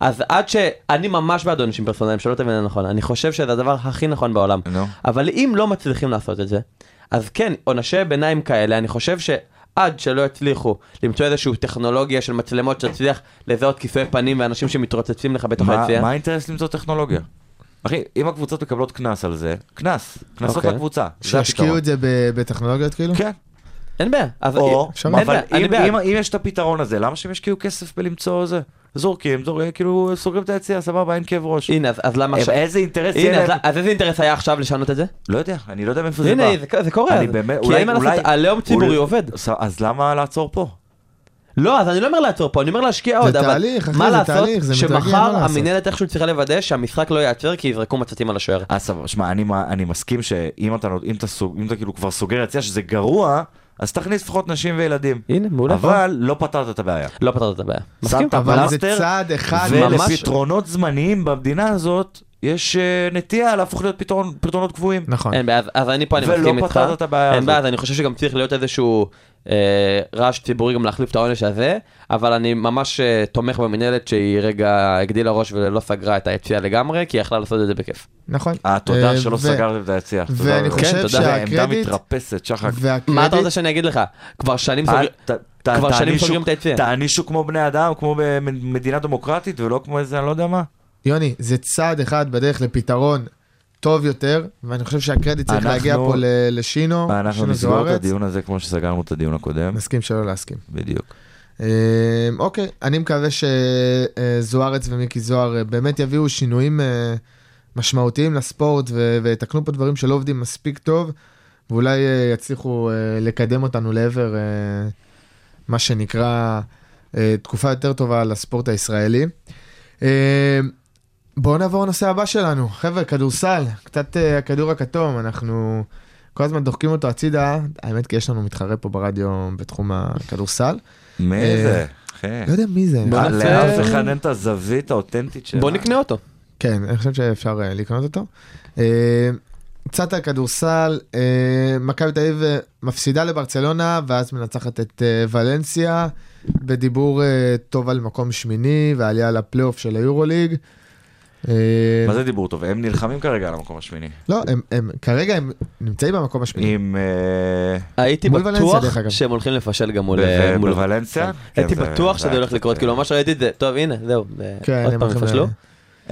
S6: אז עד ש... אני ממש בעד עונשים פרסונליים, שלא תבין נכון, אני חושב שזה הדבר הכי נכון בעולם.
S7: נו.
S6: אבל אם לא מצליחים לעשות את זה, אז כן, עונשי ביניים כאלה, אני חושב ש... עד שלא יצליחו למצוא איזושהי טכנולוגיה של מצלמות שתצליח לזהות כיסוי פנים ואנשים שמתרוצצים לך בתוך
S7: מה
S6: היציאה.
S7: מה האינטרס למצוא טכנולוגיה? אחי, אם הקבוצות מקבלות קנס על זה, קנס, קנסות
S6: אוקיי.
S7: לקבוצה. זה הפתרון.
S5: שישקיעו את זה ב- בטכנולוגיות כאילו?
S7: כן.
S6: אין בעיה. אז-
S7: או,
S5: אפשר.
S6: אין
S7: אבל
S6: בעיה, אני
S7: אם-
S6: בעד.
S7: אם- אם יש את הפתרון הזה, למה שהם ישקיעו כסף בלמצוא זה? זורקים, זורקים, כאילו סוגרים את היציאה, סבבה, אין כאב ראש.
S6: הנה, אז- אז למה
S7: אה,
S6: עכשיו?
S7: איזה אינטרס
S6: הנה,
S7: יהיה
S6: אז-
S7: להם?
S6: אז איזה אינטרס היה עכשיו לשנות את זה?
S7: לא יודע, אני לא יודע מאיפה זה בא.
S6: הנה, זה- זה קורה.
S7: אני
S6: אז-
S7: באמת,
S6: כי אין מה לעשות, עליהום ציבורי
S7: אולי-
S6: עובד.
S7: ס- אז למה לעצור פה?
S6: לא, אז אני לא אומר לעצור פה, אני אומר להשקיע עוד, אבל
S5: תהליך, אחי,
S6: מה
S5: זה
S6: לעשות
S5: תהליך, זה מתרגל,
S6: שמחר
S5: מה לעשות?
S6: המינהלת איכשהו צריכה לוודא שהמשחק לא ייעצר כי יזרקו מצתים על השוער.
S7: אז אה, סבבה, שמע, אני, מה- אני מסכים שאם אתה, נות- אם אתה, סוג, אם אתה כאילו כבר סוגר יציאה שזה גרוע, אז תכניס לפחות נשים וילדים.
S6: הנה, מעולה.
S7: אבל לא פתרת את הבעיה.
S6: לא פתרת את הבעיה. מסכים?
S7: שמת
S5: אבל זה
S7: פלסטר,
S5: צעד אחד ממש...
S7: ולפתרונות זמניים במדינה הזאת, יש אה, נטייה להפוך להיות פתרון, פתרונות קבועים.
S5: נכון.
S6: אין בעיה, אז- אז אני פה, אני
S7: ולא
S6: מסכים איתך.
S7: פתרת את הבעיה
S6: אין
S7: הזאת.
S6: בעיה, אז אני חושב שגם צריך להיות איזשהו אה, רעש ציבורי גם להחליף את העונש הזה, אבל אני ממש אה, תומך במינהלת שהיא רגע הגדילה ראש ולא סגרה את היציאה לגמרי, כי היא יכלה לעשות את זה בכיף.
S5: נכון.
S7: אה,
S5: אה,
S7: תודה שלא
S5: ו-
S7: סגרתם את היציאה. תודה
S5: ואני
S7: רבה.
S5: חושב
S7: כן, תודה.
S5: שהקרדיט-
S7: עמדה מתרפסת, שחק.
S6: מה אתה
S5: והקרדיט
S6: רוצה שאני אגיד לך? כבר שנים
S7: אל-
S6: סוגרים...
S7: ת- ת-
S6: כבר שנים
S7: תענישו-
S6: סוגרים את היציאה.
S7: תענישו כמו בני אדם, כמו במדינה דמוקרטית, ולא כמו איזה, אני לא יודע מה.
S5: יוני, זה צעד אחד בדרך לפתרון טוב יותר, ואני חושב שהקרדיט צריך
S7: אנחנו-
S5: להגיע פה ל- לשינו,
S7: אנחנו
S5: שינו
S7: נסגור את
S5: זוארץ.
S7: הדיון הזה כמו שסגרנו את הדיון הקודם.
S5: נסכים שלא להסכים.
S7: בדיוק.
S5: אמ, אוקיי, אני מקווה שזוארץ ומיקי זוהר אה, באמת יביאו שינויים אה, משמעותיים לספורט ו- ויתקנו פה דברים שלא עובדים מספיק טוב, ואולי אה, יצליחו אה, לקדם אותנו לעבר אה, מה שנקרא אה, תקופה יותר טובה לספורט הישראלי. אמ, בואו נעבור לנושא הבא שלנו. חבר'ה, כדורסל, קצת אה, הכדור הכתום, אנחנו כל הזמן דוחקים אותו הצידה, האמת כי יש לנו מתחרה פה ברדיו בתחום הכדורסל.
S7: מאיזה? אחי.
S5: לא יודע מי זה.
S6: בוא
S7: אה,
S6: נעשה-
S7: לאף אחד אין את הזווית האותנטית שלה.
S6: בוא נקנה אותו.
S5: כן, אני חושב שאפשר אה, לקנות אותו. אה, קצת על כדורסל, אה, מכבי תל אביב אה, מפסידה לברצלונה, ואז מנצחת את אה, ולנסיה, בדיבור אה, טוב על מקום שמיני ועלייה לפלייאוף של היורוליג. אה,
S7: מה זה דיבור טוב? הם נלחמים כרגע על המקום השמיני.
S5: לא, הם- הם כרגע הם נמצאים במקום השמיני.
S7: עם... אה,
S6: הייתי
S5: מול ולנסיה,
S6: בטוח
S5: דרך אגב.
S6: שהם הולכים לפשל גם מול... אה,
S7: ב-
S6: מול-
S7: בוולנסיה? כן,
S6: הייתי
S7: זה-
S6: בטוח
S7: זה
S6: שזה
S7: היה
S6: הולך
S7: קצת,
S6: לקרות,
S7: אה,
S6: כאילו ממש ראיתי את זה, טוב הנה, זהו, אה,
S5: כן,
S6: עוד
S5: הם
S6: פעם
S5: הולכים
S6: יפשלו.
S5: ל-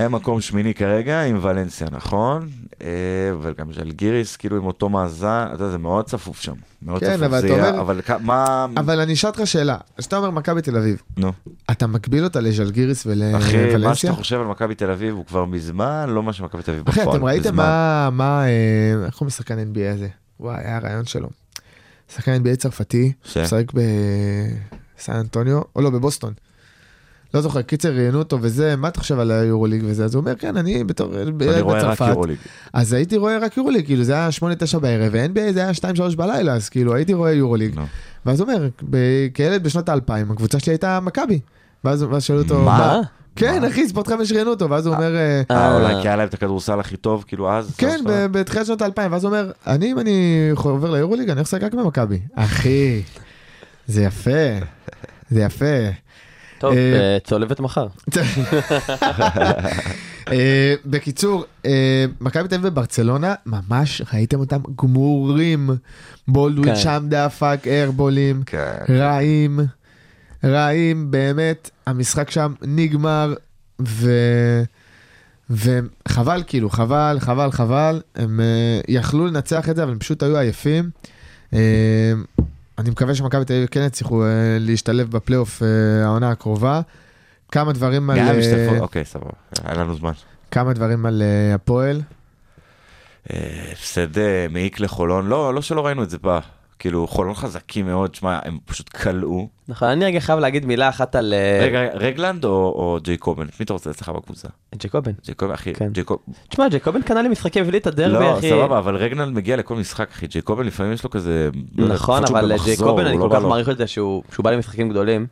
S7: הם מקום שמיני כרגע עם ולנסיה, נכון? אה, אבל גם ז'לגיריס, כאילו עם אותו מאזן, אתה יודע, זה מאוד צפוף שם. מאוד
S5: כן,
S7: צפוף
S5: אבל
S7: זה
S5: אתה
S7: יהיה,
S5: אומר-
S7: אבל כ- מה...
S5: אבל אני אשאל אותך שאלה, כשאתה אומר מכבי תל אביב,
S7: נו.
S5: אתה מגביל אותה לז'לגיריס
S7: אחי, מה שאתה
S5: ולוולנסיה?
S7: חושב על מכבי תל אביב הוא כבר מזמן לא מה שמכבי תל אביב
S5: אחי,
S7: בפועל.
S5: אתם ראיתם
S7: מזמן.
S5: מה, מה, אה, איך קוראים לשחקן NBA הזה? וואי, היה רעיון שלו. שחקן NBA צרפתי,
S7: ש?
S5: משחק בסן אנטוניו, או לא, בבוסטון. לא זוכר, קיצר ראיינו אותו וזה, מה אתה חושב על היורוליג וזה? אז הוא אומר, כן, אני בתור,
S7: אני
S5: ילד
S7: רואה רק
S5: בצרפת.
S7: יורוליג.
S5: אז הייתי רואה רק יורוליג, כאילו זה היה 8-9 בערב, ו-NBA זה היה 2-3 בלילה, אז כאילו הייתי רואה יורוליג.
S7: נו.
S5: ואז הוא אומר, ב- כילד בשנות האלפיים, הקבוצה שלי הייתה מכבי. ואז ואז שאלו אותו,
S7: מה?
S5: כן, אחי, ספורט 5 ראיינו אותו, ואז הוא אומר... אה,
S7: אה, אולי כי היה להם את הכדורסל הכי טוב, כאילו אז.
S5: כן,
S7: סוף סוף.
S5: ב- בתחילת שנות האלפיים, ואז הוא אומר, אני, אם אני עובר ליורוליג, אני הולך לשחק רק במכבי. אחי, זה יפה, זה יפה.
S6: טוב,
S5: אה,
S6: אה, צולבת מחר.
S5: אה, בקיצור, אה, מכבי תל אביב וברצלונה, ממש ראיתם אותם גמורים. בולדווין
S6: כן.
S5: שם דפק, איירבולים,
S7: כן.
S5: רעים, רעים, באמת, המשחק שם נגמר, ו... וחבל, כאילו, חבל, חבל, חבל, הם uh, יכלו לנצח את זה, אבל הם פשוט היו עייפים. Uh, אני מקווה שמכבי תל אביב כן יצליחו uh, להשתלב בפלייאוף uh, העונה הקרובה. כמה דברים על,
S7: גם
S5: אה,
S7: משתתפות, אוקיי, סבבה, היה לנו זמן.
S5: כמה דברים על אה, הפועל.
S7: אה, הפסד אה, מעיק לחולון, לא, לא שלא ראינו את זה פעם. כאילו, חולון חזקים מאוד, שמע, הם פשוט כלאו.
S6: נכון, אני רגע חייב להגיד מילה אחת על אה,
S7: רגע, רגע, רגלנד או- או ג'ייקובן? מי אתה רוצה אצלך בקבוצה?
S6: ג'קובן.
S7: ג'ייקובן, אחי,
S6: כן.
S7: ג'ייקוב...
S6: תשמע, ג'קובן קנה לי משחקים הביא לי את הדרבי,
S7: לא,
S6: אחי.
S7: סבבה, אבל רגלנד מגיע לכל משחק, אחי. ג'ייקובן לפעמים יש לו כזה... לא יודע,
S6: נכון,
S7: תקופות שהוא
S6: אבל
S7: במחזור,
S6: ג'קובן, אני
S7: הוא לא
S6: כל
S7: בא
S6: כך
S7: לו.
S6: מעריך את זה שהוא שהוא בא למשחקים גדולים.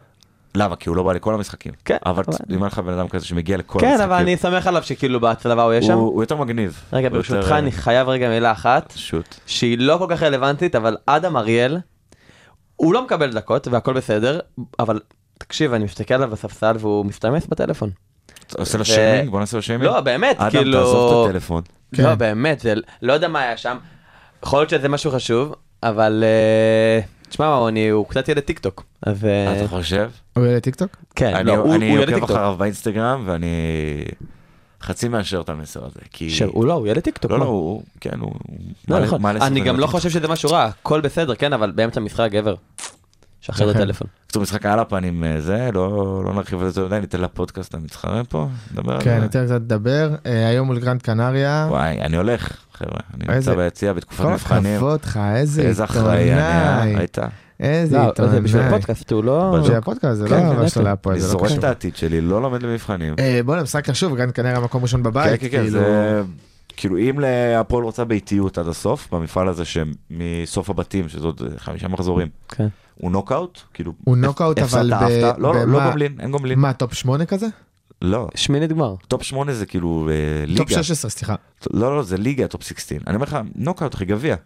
S7: למה? כי הוא לא בא לכל המשחקים.
S6: כן,
S7: אבל
S6: אבל-
S7: אם היה לך בן אדם כזה שמגיע לכל
S6: כן,
S7: המשחקים.
S6: אבל אני סומך עליו שכאילו בהצלבה הוא יהיה שם.
S7: הוא הוא יותר מגניב.
S6: רגע,
S7: הוא יותר,
S6: ברשותך,
S7: אה,
S6: אני חייב רגע מילה אחת.
S7: שוט.
S6: שהיא לא כל כך רלוונטית, אבל אדם אריאל, הוא לא מקבל דקות והכל בסדר, אבל תקשיב, אני מסתכל עליו בספסל והוא מסתמס בטלפון.
S7: אתה עושה לו שיימינג? בוא נעשה לו שיימינג.
S6: לא, באמת,
S7: אדם,
S6: כאילו...
S7: תעזוב את הטלפון.
S6: לא, באמת, זה... לא יודע מה היה שם. יכול להיות שזה משהו חשוב, אבל... אה, תשמע, מעוני, הוא קצת ילד טיק טוק. אז... אה,
S7: אתה חושב?
S5: הוא יעלה טיקטוק?
S6: כן,
S7: אני-
S6: לא, הוא הוא
S7: אני
S6: ילד
S7: עוקב
S6: טיק טוק.
S7: אחריו באינסטגרם ואני חצי מאשר את המסר הזה. כי...
S6: שהוא לא, הוא ילד טיק טוק.
S7: לא,
S6: מה?
S7: לא, הוא... כן, הוא... הוא
S6: לא,
S7: מעלה-
S6: נכון.
S7: מעלה
S6: אני
S7: סרטונים
S6: גם לא
S7: בטיקטוק.
S6: חושב שזה משהו רע, הכל בסדר, כן, אבל באמצע משחק גבר. שחרר את
S5: אכן.
S6: הטלפון.
S7: בקיצור, משחק על הפנים אה, זה, לא לא נרחיב על זה יותר מדי, ניתן לפודקאסט המתחרה פה, נדבר על
S5: כן,
S7: זה.
S5: ניתן קצת לדבר. אה, היום מול גרנד קנריה.
S7: וואי, אני הולך, חבר'ה, אני נמצא
S5: איזה-
S7: ביציע בתקופת
S5: כל
S7: מבחנים.
S5: הכבוד לך, איזה
S7: איזה אחראי אני, אה,
S5: עיתונאי. כן,
S7: היית.
S5: איזה
S6: לא, זה בשביל
S5: עיתונאי.
S6: הפודקאסט, הוא לא...
S7: בדיוק.
S5: זה הפודקאסט, זה לא
S6: כן,
S5: אבא
S6: כן,
S5: שלו היה פה,
S7: אני
S5: זה לא
S7: זורק
S5: קשור.
S7: את העתיד שלי, לא לומד למבחנים.
S5: אה, בואנה, משחק חשוב, גרנד קנריה מקום ראשון
S7: כן,
S5: בבית.
S7: כן, כן,
S5: כאילו.
S7: זה... כאילו אם הפועל רוצה באיטיות עד הסוף, במפעל הזה שמסוף הבתים, שזה עוד אה, חמישה מחזורים,
S6: כן.
S7: הוא נוקאוט, כאילו...
S5: הוא נוקאוט,
S7: הפסדת,
S5: אבל ב-
S7: אהבת. לא, לא, לא
S5: במה-
S7: גומלין, אין גומלין.
S5: מה, טופ 8 כזה?
S7: לא,
S6: שמינית גמר.
S7: טופ 8 זה כאילו אה, ליגה.
S5: טופ 16, סליחה.
S7: לא, לא, זה ליגה, טופ 16. אני אומר לך, נוקאוט, אחי, גביע,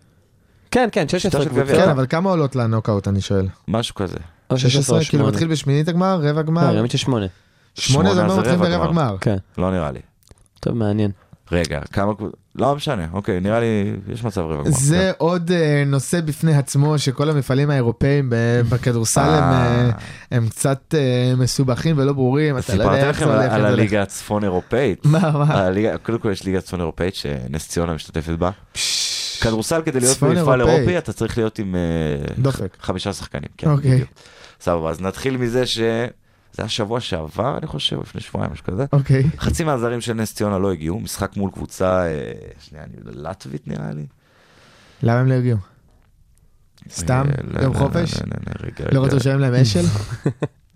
S6: כן, כן,
S7: שיטה
S6: 16
S7: של
S6: קבוצות.
S7: גביע.
S5: כן, אבל כמה עולות לנוקאוט, אני שואל?
S7: משהו כזה.
S6: או
S5: 16, כאילו
S6: שמונה.
S5: מתחיל בשמינית הגמר, רבע
S6: לא,
S5: גמר,
S6: רמית של שמונה.
S5: שמונה זה אומר מתחיל ברבע גמר.
S6: כן,
S7: לא נראה לי.
S6: טוב, מעניין.
S7: רגע, כמה... קבוצ- לא משנה, אוקיי, נראה לי, יש מצב רבע גמר.
S5: זה עוד אה, נושא בפני עצמו, שכל המפעלים האירופאים
S7: [LAUGHS]
S5: ב- בכדורסל הם,
S7: אה.
S5: אה, הם קצת אה, מסובכים ולא ברורים, אתה לא
S7: סיפרתי
S5: יודע איך
S7: לכם
S5: זה
S7: על-
S5: הולך. איך
S7: על
S5: זה הולך.
S7: הליגה אה, הצפון אירופאית.
S5: מה, מה?
S7: הליגה- קודם כל יש ליגה צפון אירופאית שנס ציונה משתתפת בה.
S5: פשש.
S7: כדורסל כדי להיות
S5: צפון
S7: במפעל
S5: אירופאי.
S7: אירופי אתה צריך להיות עם אה,
S5: דופק.
S7: ח- חמישה שחקנים. כן,
S5: אוקיי.
S7: בדיוק. סבבה, אז נתחיל מזה ש... זה היה שבוע שעבר, אני חושב, לפני שבועיים, משהו כזה.
S5: אוקיי.
S7: חצי מהזרים של נס ציונה לא הגיעו, משחק מול קבוצה, אה, שנייה, אני יודע, לטבית נראה לי.
S5: למה הם לא הגיעו? סתם?
S7: אה, לא,
S5: יום
S7: לא,
S5: חופש?
S7: לא, לא, לא, לא, רגע,
S5: לא
S7: רגע.
S5: רצו לשלם
S7: [LAUGHS]
S5: להם אשל?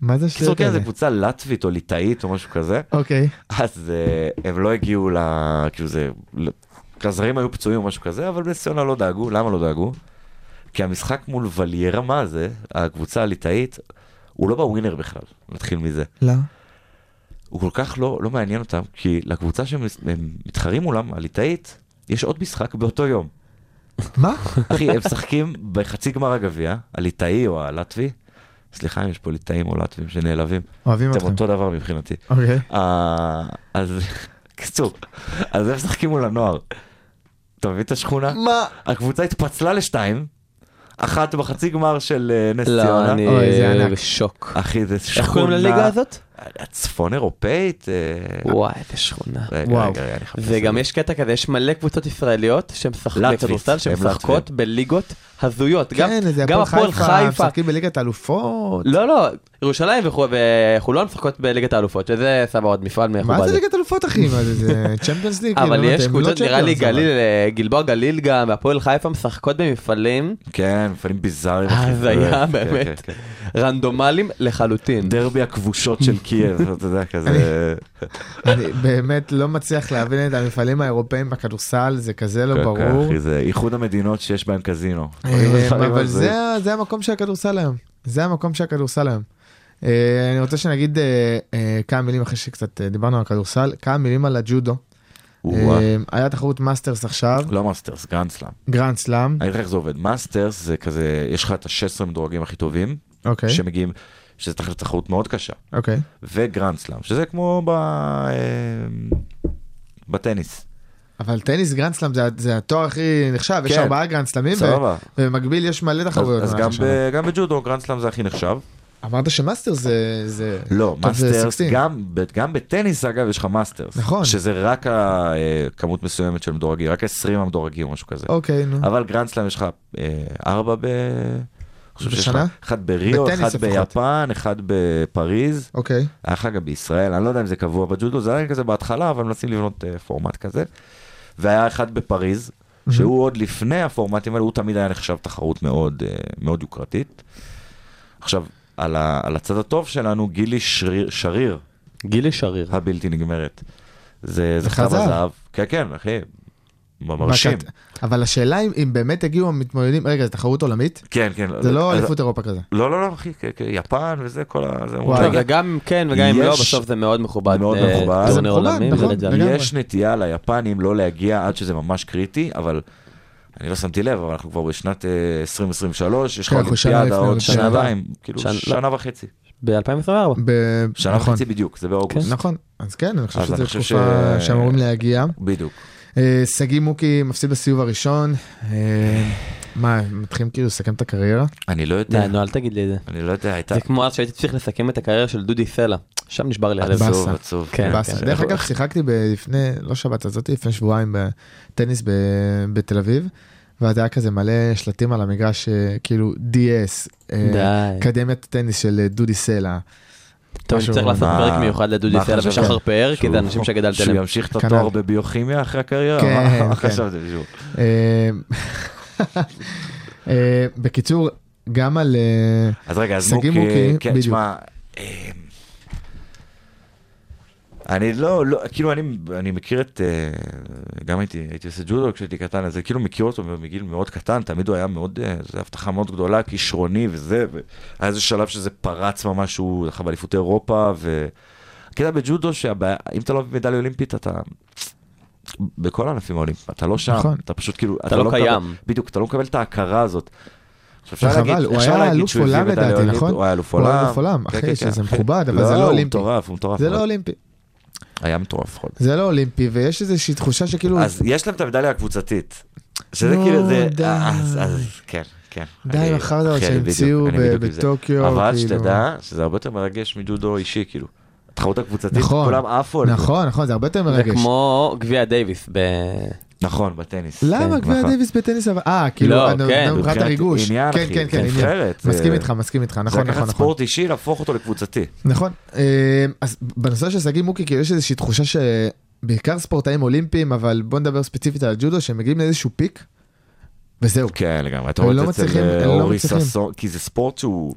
S5: מה זה
S7: קיצור,
S5: השטויות
S7: כן,
S5: האלה?
S7: זו קבוצה לטבית או ליטאית או משהו כזה.
S5: אוקיי.
S7: אז אה, הם לא הגיעו ל... כאילו זה... ל- הזרים היו פצועים או משהו כזה, אבל בנס ציונה לא דאגו. למה לא דאגו? כי המשחק מול וליירמה הזה, הקבוצה הליטאית, הוא לא בווינר בכלל, נתחיל מזה.
S5: לא.
S7: הוא כל כך לא, לא מעניין אותם, כי לקבוצה שהם הם מתחרים מולם, הליטאית, יש עוד משחק באותו יום.
S5: מה?
S7: אחי, הם משחקים בחצי גמר הגביע, הליטאי או הלטבי. סליחה אם יש פה ליטאים או לטבים שנעלבים.
S5: אוהבים
S7: אתם
S5: אתכם.
S7: אותו דבר מבחינתי.
S5: אוקיי.
S7: אה, אז קיצור, אז הם משחקים מול הנוער. אתה מבין את השכונה?
S5: מה?
S7: הקבוצה התפצלה לשתיים, אחת בחצי גמר של אה, נס
S6: לא,
S7: ציונה.
S6: אני
S5: אוי, זה ענק.
S6: בשוק.
S7: אחי, זה שכונה...
S6: איך קוראים לליגה הזאת?
S7: הצפון אירופאית? אה,
S6: וואי, איזה שכונה.
S7: רגע,
S5: וואו.
S7: רגע, רגע, אני אחפש. את
S6: וגם יש קטע כזה, יש מלא קבוצות ישראליות
S7: לטבית,
S6: שמשחקות כדורסל,
S7: הם
S6: שמשחקות בליגות הזויות. גם-
S5: כן, איזה
S6: גם
S5: הפועל
S6: הפועל
S5: חיפה,
S6: חיפה.
S5: משחקים בליגת אלופות.
S6: לא, לא, ירושלים וחו- וחולון משחקות בליגת האלופות, שזה סבבה עוד מפעל מכובד.
S5: מה זה ליגת אלופות אחי? מה זה, זה צ'מפיונס ליג?
S6: אבל
S5: כאילו,
S6: יש
S5: אתם לא
S6: קבוצות, נראה לי
S5: צ'מפיונס, אבל.
S6: גליל, אה, גלבוע גליל גם, והפועל חיפה משחקות במפעלים
S7: כן, מפעלים ביזאריים. אחי.
S6: הזיה,
S7: כן,
S6: אה, באמת.
S7: כן, כן.
S6: רנדומליים לחלוטין.
S7: דרבי הכבושות של קייב, אתה יודע, כזה...
S5: אני באמת לא מצליח להבין את המפעלים האירופאים בכדורסל, זה כזה לא
S7: כן, כן,
S5: ברור.
S7: אחי, זה איחוד המדינות שיש בהן קזינו.
S5: אה, אבל זה ה- זה המקום של הכדורסל היום. זה המקום של הכדורסל היום. אה, אני רוצה שנגיד אה, אה, כמה מילים אחרי שקצת אה, דיברנו על כדורסל, כמה מילים על הג'ודו.
S7: וואו.
S5: אה, היה תחרות מאסטרס עכשיו,
S7: לא מאסטרס, גרנד סלאם.
S5: גרנד סלאם,
S7: אני אגיד לך איך זה עובד, מאסטרס זה כזה, יש לך את ה-16 מדורגים הכי טובים,
S5: אוקיי,
S7: שמגיעים, שזה תחת תחרות מאוד קשה,
S5: אוקיי,
S7: וגרנד סלאם, שזה כמו ב... אה, בטניס.
S5: אבל טניס גרנד סלאם זה ה- זה התואר הכי נחשב, יש
S7: כן.
S5: ארבעה גרנד סלאמים, ו-
S7: סבבה.
S5: ובמקביל יש מלא
S7: אז,
S5: תחרויות.
S7: אז
S5: במהלך
S7: גם,
S5: השנה.
S7: ב, גם בג'ודו גרנד סלאם זה הכי נחשב.
S5: אמרת שמאסטר זה... זה...
S7: לא,
S5: טוב, זה
S7: מאסטרס,
S5: 16.
S7: גם, ב- גם בטניס אגב יש לך מאסטרס.
S5: נכון.
S7: שזה רק הכמות מסוימת של מדורגים, רק 20 המדורגים או משהו כזה.
S5: אוקיי, נו.
S7: אבל גרנד סלאם יש לך אה, ארבע ב... אני חושב שיש לך
S5: בשנה?
S7: אחד בריו,
S5: בטניס
S7: אחד
S5: לפחות.
S7: ביפן, אחד בפריז.
S5: אוקיי.
S7: היה לך גם בישראל, אני לא יודע אם זה קבוע בג'ודו, זה היה כזה בהתחלה, אבל מנסים לבנות אה, פורמט כזה. והיה אחד בפריז, שהוא עוד לפני הפורמטים האלה, הוא תמיד היה נחשב תחרות מאוד, אה, מאוד יוקרתית. עכשיו, על, ה, על הצד הטוב שלנו, גילי שריר, שריר
S6: גילי שריר.
S7: הבלתי נגמרת. זה, זה
S5: זכה
S7: חזב
S5: זהב.
S7: הזהב. כן, כן, אחי. מרשים.
S5: בקט- אבל השאלה אם- אם באמת הגיעו המתמודדים, רגע, זו תחרות עולמית?
S7: כן, כן.
S5: זה לא
S7: אז-
S5: אליפות אירופה כזה.
S7: לא, לא, לא, אחי, כן, כן, יפן וזה, כל ה... זה-
S5: וואי,
S7: רגע,
S6: וגם אם כן וגם אם לא,
S7: יש-
S6: בסוף זה מאוד מכובד.
S7: מאוד
S6: אה,
S7: מכובד.
S6: טורניר
S7: זה
S5: מכובד,
S6: עולמי,
S5: נכון,
S6: וזה-
S5: לגמרי.
S7: יש נטייה ליפנים לא להגיע עד שזה ממש קריטי, אבל אני לא שמתי לב, אבל אנחנו כבר בשנת אה, 2023, יש לך
S5: כן, אנחנו שנה
S7: אולימפיאדה
S5: לפני
S7: עוד
S5: אולימפיאדה.
S7: שנתיים, כאילו
S6: שנה- לא.
S7: שנה וחצי.
S6: ב-2024.
S5: ב-
S7: שנה
S5: נכון.
S7: וחצי בדיוק, זה באוגוסט.
S5: נכון, אז כן, אני חושב
S7: אז
S5: שזו
S7: אני חושב
S5: תקופה
S7: ש-
S5: שאמורים להגיע.
S7: בדיוק.
S5: אה, שגיא מוקי מפסיד בסיבוב הראשון. אה, מה, הם מתחילים כאילו לסכם את הקריירה?
S7: אני לא יודע,
S6: די, נו, אל תגיד לי את זה.
S7: אני לא יודע, הייתה...
S6: זה כמו אז שהייתי צריך לסכם את הקריירה של דודי סלע. שם נשבר לי הלב.
S5: באסה.
S7: עצוב, עצוב.
S6: כן.
S5: באסה. דרך אגב, שיחקתי ב- לפני, לא שבת הזאת, לפני שבועיים בטניס ב- בתל אביב, ואז היה כזה מלא שלטים על המגרש, אה, כאילו DS, אה,
S6: די.
S5: אקדמיית הטניס של אה, דודי סלע.
S6: טוב, אני
S5: משהו-
S6: צריך לעשות
S7: מה-
S6: פרק מיוחד לדודי
S7: מה
S6: סלע
S7: חשבת?
S6: ושחר פאר, כי
S7: שהוא-
S6: זה אנשים שגדלת
S7: שהוא
S6: עליהם.
S7: ימשיך את
S5: כנ"ל.
S7: התואר בביוכימיה אחרי הקריירה?
S5: כן,
S7: מה
S5: כן.
S7: חשבתם שהוא?
S5: אה, אה, בקיצור, גם על... אה,
S7: אז רגע, אז
S5: שגיא
S7: מוקי,
S5: מוקי,
S7: כן,
S5: בדיוק.
S7: תשמע, אה, אני לא, לא, כאילו אני, אני מכיר את, אה, גם הייתי, הייתי עושה ג'ודו כשהייתי קטן, אז אני כאילו מכיר אותו מגיל מאוד קטן, תמיד הוא היה מאוד, אה, זו הבטחה מאוד גדולה, כישרוני וזה, והיה איזה שלב שזה פרץ ממש, הוא הלכה באליפות אירופה, והקטע בג'ודו שהבעיה, אם אתה לא במדליה אולימפית, אתה... בכל הענפים האולימפיים, אתה לא שם,
S5: נכון.
S7: אתה פשוט כאילו, אתה,
S6: לא
S7: מקבל-
S6: קיים.
S7: בדיוק, אתה לא מקבל את ההכרה הזאת.
S5: זה
S7: אפשר להגיד-
S5: חבל, הוא
S7: אפשר
S5: היה
S7: להגיד
S5: אלוף
S7: שהוא הביא
S5: עולם
S7: מדליה
S5: לדעתי,
S7: אולימפית,
S5: נכון?
S7: הוא היה אלוף
S5: הוא
S7: עולם.
S5: היה אלוף עולם,
S7: כן,
S5: אחי,
S7: כן,
S5: שזה
S7: כן, אחי.
S5: מכובד, אבל זה לא אולימפי.
S7: הוא מטורף, הוא מטורף.
S5: זה
S7: אבל
S5: לא אולימפי.
S7: היה מטורף. יכול להיות.
S5: זה לא אולימפי, ויש איזושהי תחושה שכאילו,
S7: אז יש להם את המדליה הקבוצתית. שזה
S5: לא,
S7: כאילו זה...
S5: די.
S7: אז, אז, כן, כן.
S5: די
S7: אני-
S5: עם החרדות
S7: אחי, אני בדיוק-
S5: שהמציאו
S7: אני בדיוק
S5: ב-
S7: עם זה.
S5: בטוקיו,
S7: אבל
S5: כאילו.
S7: שתדע שזה הרבה יותר מרגש מג'ודו אישי, כאילו. התחרות הקבוצתית,
S5: נכון.
S7: כולם עפו על זה.
S5: נכון, נכון, זה הרבה יותר
S6: זה
S5: מרגש.
S6: כמו גביע דייוויס. ב-
S7: נכון, בטניס.
S5: למה
S7: כן,
S5: גביע
S7: נכון.
S5: דייוויס בטניס אבל... אה, כאילו,
S6: לא,
S5: אני-
S6: כן.
S5: אני מבחינת
S7: מבחינת
S5: הריגוש.
S7: עניין,
S5: כן,
S7: אחי,
S5: כן, כן,
S7: כן,
S5: עניין.
S7: אחרת,
S5: מסכים
S7: אה,
S5: איתך, מסקים איתך,
S7: זה
S5: נכון, נכון,
S7: לקחת
S5: נכון.
S7: ספורט אישי, להפוך אותו לקבוצתי.
S5: נכון. אה, אז בנושא של שגיא מוקי, כאילו יש איזושהי תחושה שבעיקר ספורטאים אולימפיים, אבל בוא נדבר ספציפית על הג'ודו, שהם מגיעים לאיזשהו פיק, וזהו.
S7: כן, לגמרי. אתה
S5: הם
S7: רואה
S5: לא
S7: את זה אצל
S5: מצליחים,
S7: אה,
S5: הם לא
S7: אורי
S5: מצליחים.
S7: ששון, כי זה ספורט שהוא...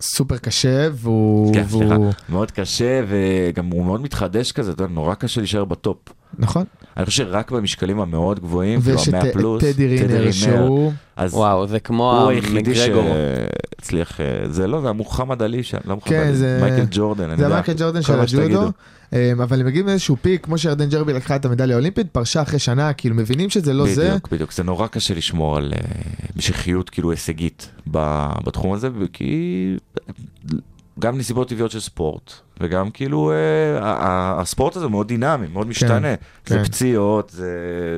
S5: סופר קשה, והוא...
S7: כן,
S5: והוא-
S7: סליחה. מאוד קשה, וגם הוא מאוד מתחדש כזה, אתה יודע, נורא קשה להישאר בטופ.
S5: נכון.
S7: אני חושב שרק במשקלים המאוד גבוהים, כאילו
S5: ויש את
S7: המאה
S5: את
S7: פלוס,
S5: טדי רינר, שהוא...
S7: אז
S6: וואו, זה כמו
S7: הוא היחידי
S6: המגרגור.
S7: שהצליח, אה, זה לא, זה המוחמד עלי שם, לא מוחמד
S5: כן,
S7: עלי,
S5: זה-
S7: מייקל ג'ורדן, אני
S5: זה
S7: יודע,
S5: המייקל ג'ורדן של
S7: כמה שתגידו.
S5: הג'ודו, אמ, אבל הם מגיעים לאיזשהו פיק, כמו שירדן ג'רבי לקחה את המדליה האולימפית, פרשה אחרי שנה, כאילו מבינים שזה לא זה.
S7: בדיוק, בדיוק, זה נורא קשה לשמור על אה, המשכיות כאילו הישגית ב- בתחום הזה, כי גם נסיבות טבעיות של ספורט, וגם כאילו אה, ה- ה- הספורט הזה מאוד דינמי, מאוד משתנה,
S5: כן.
S7: זה פציעות, זה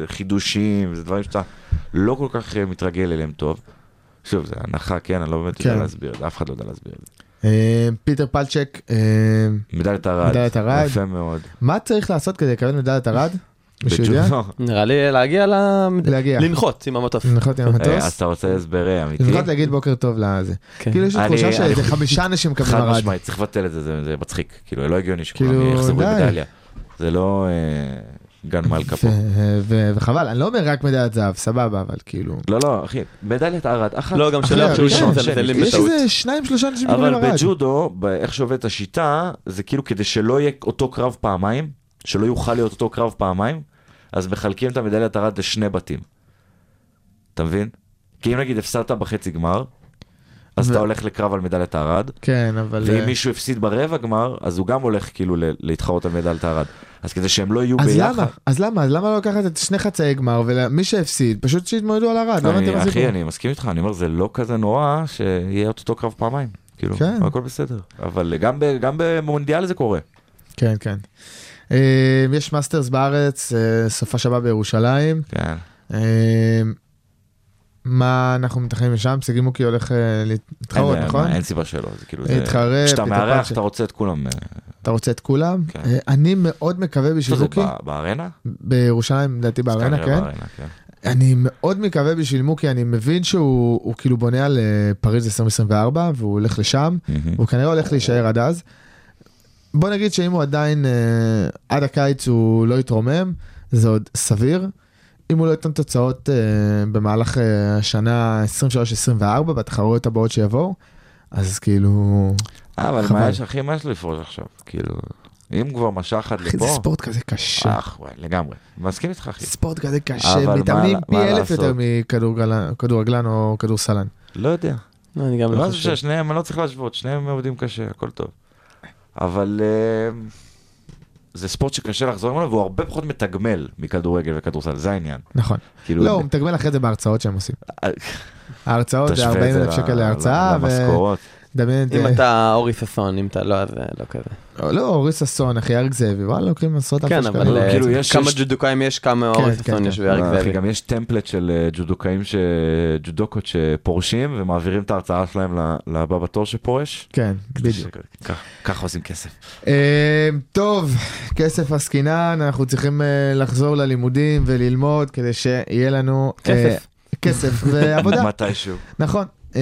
S7: חידושים, זה דברים שאתה לא כל כך אה, מתרגל אליהם טוב. שוב, זה הנחה, כן, אני לא באמת
S5: כן.
S7: יודע להסביר את זה, אף אחד לא יודע להסביר את זה.
S5: אמ, פיטר פלצ'ק, אמ,
S7: מדליית ארד,
S5: מדליית ארד.
S7: יפה מאוד.
S5: מה צריך לעשות כדי לקבל מדליית
S7: [LAUGHS]
S5: ארד? מישהו יודע?
S7: בג'ודו.
S6: נראה לי להגיע ל...
S5: להגיע. כן.
S6: לנחות עם המטוס.
S5: לנחות עם
S7: אה, אז
S5: המטוס?
S7: אתה רוצה הסבר אמיתי?
S5: לפחות להגיד בוקר טוב לזה.
S6: כן.
S5: כאילו יש לי
S7: אני-
S5: תחושה
S7: אני
S5: שאיזה
S7: חושב-
S5: חמישה אנשים מקבלים
S7: חד
S5: ארד.
S7: משמעית, צריך לבטל את זה, זה, זה מצחיק. כאילו, לא הגיוני
S5: כאילו,
S7: שכולם יחזרו עם
S5: די.
S7: מדליה. זה לא אה, גן מלכה פה.
S5: ו- ו- וחבל, אני לא אומר רק מדליית זהב, סבבה, אבל כאילו... כן.
S7: לא, לא, אחי, מדליית ערד, אחת.
S6: לא, גם
S7: אחת,
S6: שלא יחשבו
S7: ראשון,
S6: שזה
S7: שני.
S6: מזלזלים
S5: יש
S6: בטעות.
S5: איזה שניים שלושה אנשים מקבלים
S7: אבל
S5: ארד.
S7: בג'ודו, ב- איך שעובדת השיטה, זה כאילו כדי שלא יהיה אותו קרב פעמיים, שלא יוכל להיות אותו קרב פעמיים, אז מחלקים את המדליית ערד לשני בתים. אתה מבין? כי אם נגיד הפסדת בחצי גמר, אז
S5: ו-
S7: אתה הולך לקרב על מדליית ערד,
S5: כן, אבל...
S7: ואם
S5: אה,
S7: מישהו הפסיד ברבע גמר, אז הוא גם הולך כאילו ל- להתחרות על מדליית ערד. אז כדי שהם לא יהיו
S5: אז
S7: ביחד...
S5: למה? אז למה? אז למה לא לקחת את שני חצאי גמר ומי שהפסיד פשוט שיתמודדו על ארד? לא הבנתי
S7: אני,
S5: מה זה
S7: אחי,
S5: פה.
S7: אני מסכים איתך, אני אומר, זה לא כזה נורא שיהיה את אותו קרב פעמיים. כאילו,
S5: כן.
S7: הכל בסדר. אבל גם, ב, גם במונדיאל זה קורה.
S5: כן, כן. אה, יש מאסטרס בארץ, אה, סופה שבה בירושלים.
S7: כן.
S5: אה, מה אנחנו מתכננים לשם? שגיא מוקי הולך אה, להתחרות,
S7: אין,
S5: נכון?
S7: אין, אין סיבה שלא, זה כאילו...
S5: להתחרה,
S7: זה, כשאתה
S5: פיטר
S7: מארח,
S5: פאצ'ה.
S7: אתה רוצה את כולם. אה,
S5: אתה רוצה את כולם?
S7: כן.
S5: אה, אני מאוד מקווה בשביל
S7: איפה זה,
S5: מוקי,
S7: ב- בארנה?
S5: בירושלים, לדעתי
S7: אז
S5: בארנה,
S7: כנראה
S5: כן?
S7: בארנה, כן.
S5: אני מאוד מקווה בשביל מוקי, אני מבין שהוא הוא כאילו בונה על אה, פריז 2024 והוא הולך לשם.
S7: מהמם.
S5: הוא כנראה הולך להישאר עד אז. בוא נגיד שאם הוא עדיין אה, עד הקיץ הוא לא יתרומם, זה עוד סביר. אם הוא לא ייתן תוצאות אה, במהלך אה, השנה 23-24 בתחרויות הבאות שיבואו, אז כאילו,
S7: אה, אבל
S5: חבל.
S7: מה יש, אחי, מה יש לפרוש עכשיו? כאילו... אם כבר משך עד
S5: אחי, [LAUGHS] זה
S7: לפה,
S5: ספורט כזה קשה.
S7: אח, וואי, לגמרי. מסכים איתך, אחי.
S5: ספורט כזה
S7: אה, אבל
S5: קשה,
S7: מה-
S5: מתאמנים
S7: מה
S5: פי אלף
S7: לעשות?
S5: יותר מכדורגלן או כדורסלן.
S7: לא יודע.
S6: אני גם
S7: לא
S6: לא
S7: זה
S6: חושב.
S7: ששניהם, אני לא צריך להשוות, שניהם עובדים קשה, הכל טוב. אבל אה, זה ספורט שקשה לחזור ממנו, והוא הרבה פחות מתגמל מכדורגל וכדורסל, זה העניין.
S5: נכון.
S7: כאילו,
S5: לא, הוא מתגמל אחרי זה בהרצאות שהם עושים.
S7: אה,
S5: ההרצאות זה
S7: תשווה את
S5: 40 אלף
S7: ל-
S5: שקל
S7: ל-
S5: להרצאה,
S7: למשכורות.
S5: ודמיין את...
S6: אם אתה אורי ששון, אם אתה לא, אז אה, לא כזה.
S5: לא, אורי ששון, אחי, אריק זאבי, וואלה, לוקחים עשרות אלפי
S6: כן,
S5: שקלים.
S6: אבל אה,
S7: כאילו, יש-
S6: כמה
S7: יש-
S6: ג'ודוקאים יש, כמה
S5: כן,
S6: אורי
S5: כן,
S6: ששון
S5: כן.
S6: יש ואריק
S7: אה, אחי,
S6: זאבי.
S7: גם יש טמפלט של אה, ג'ודוקאים, ש- ג'ודוקות שפורשים ומעבירים את ההרצאה שלהם ל- לבא בתור שפורש.
S5: כן, בדיוק.
S7: ככה- ככה עושים כסף.
S5: אה, טוב, כסף עסקינן, אנחנו צריכים אה, לחזור ללימודים וללמוד כדי שיהיה לנו... אה,
S6: כסף.
S7: [LAUGHS]
S5: כסף ועבודה,
S7: מתישהו.
S5: נכון. אה,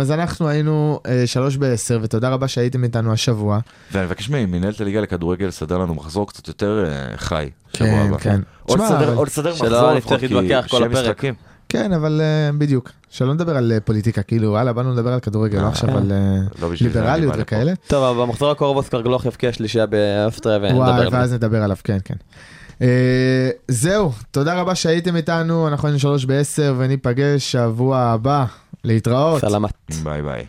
S5: אז אנחנו היינו אה, שלוש בעשר, ותודה רבה שהייתם איתנו השבוע.
S7: ואני מבקש ממנהלת הליגה לכדורגל לסדר לנו מחזור קצת יותר אה, חי. שבוע
S5: כן,
S7: הבא.
S5: כן.
S7: או
S5: תשמע,
S7: לסדר-
S5: אבל-
S7: או לסדר
S6: שלא
S7: מחזור
S6: נצטרך
S7: לפחות, כי
S6: להתווכח כל
S7: שיהיה
S6: הפרק.
S7: משחקים.
S5: כן, אבל אה, בדיוק. שלא נדבר על אה, פוליטיקה, כאילו, וואלה, באנו לדבר על כדורגל, לא
S7: אה,
S5: עכשיו
S6: כן.
S5: על אה,
S7: לא בשביל זה אני
S5: ליברליות
S7: בא לפה.
S5: וכאלה.
S6: טוב, אבל במחזור הקרוב אוסקר גלוך יבקיע שלישייה באוסטריה
S5: וואי,
S6: ונדבר על זה.
S5: ואז נדבר עליו, כן, כן. אה, זהו, תודה רבה שהייתם איתנו, אנחנו היינו שלוש בעשר, וניפגש שבוע הבא. להתראות.
S6: סלמת.
S7: ביי ביי.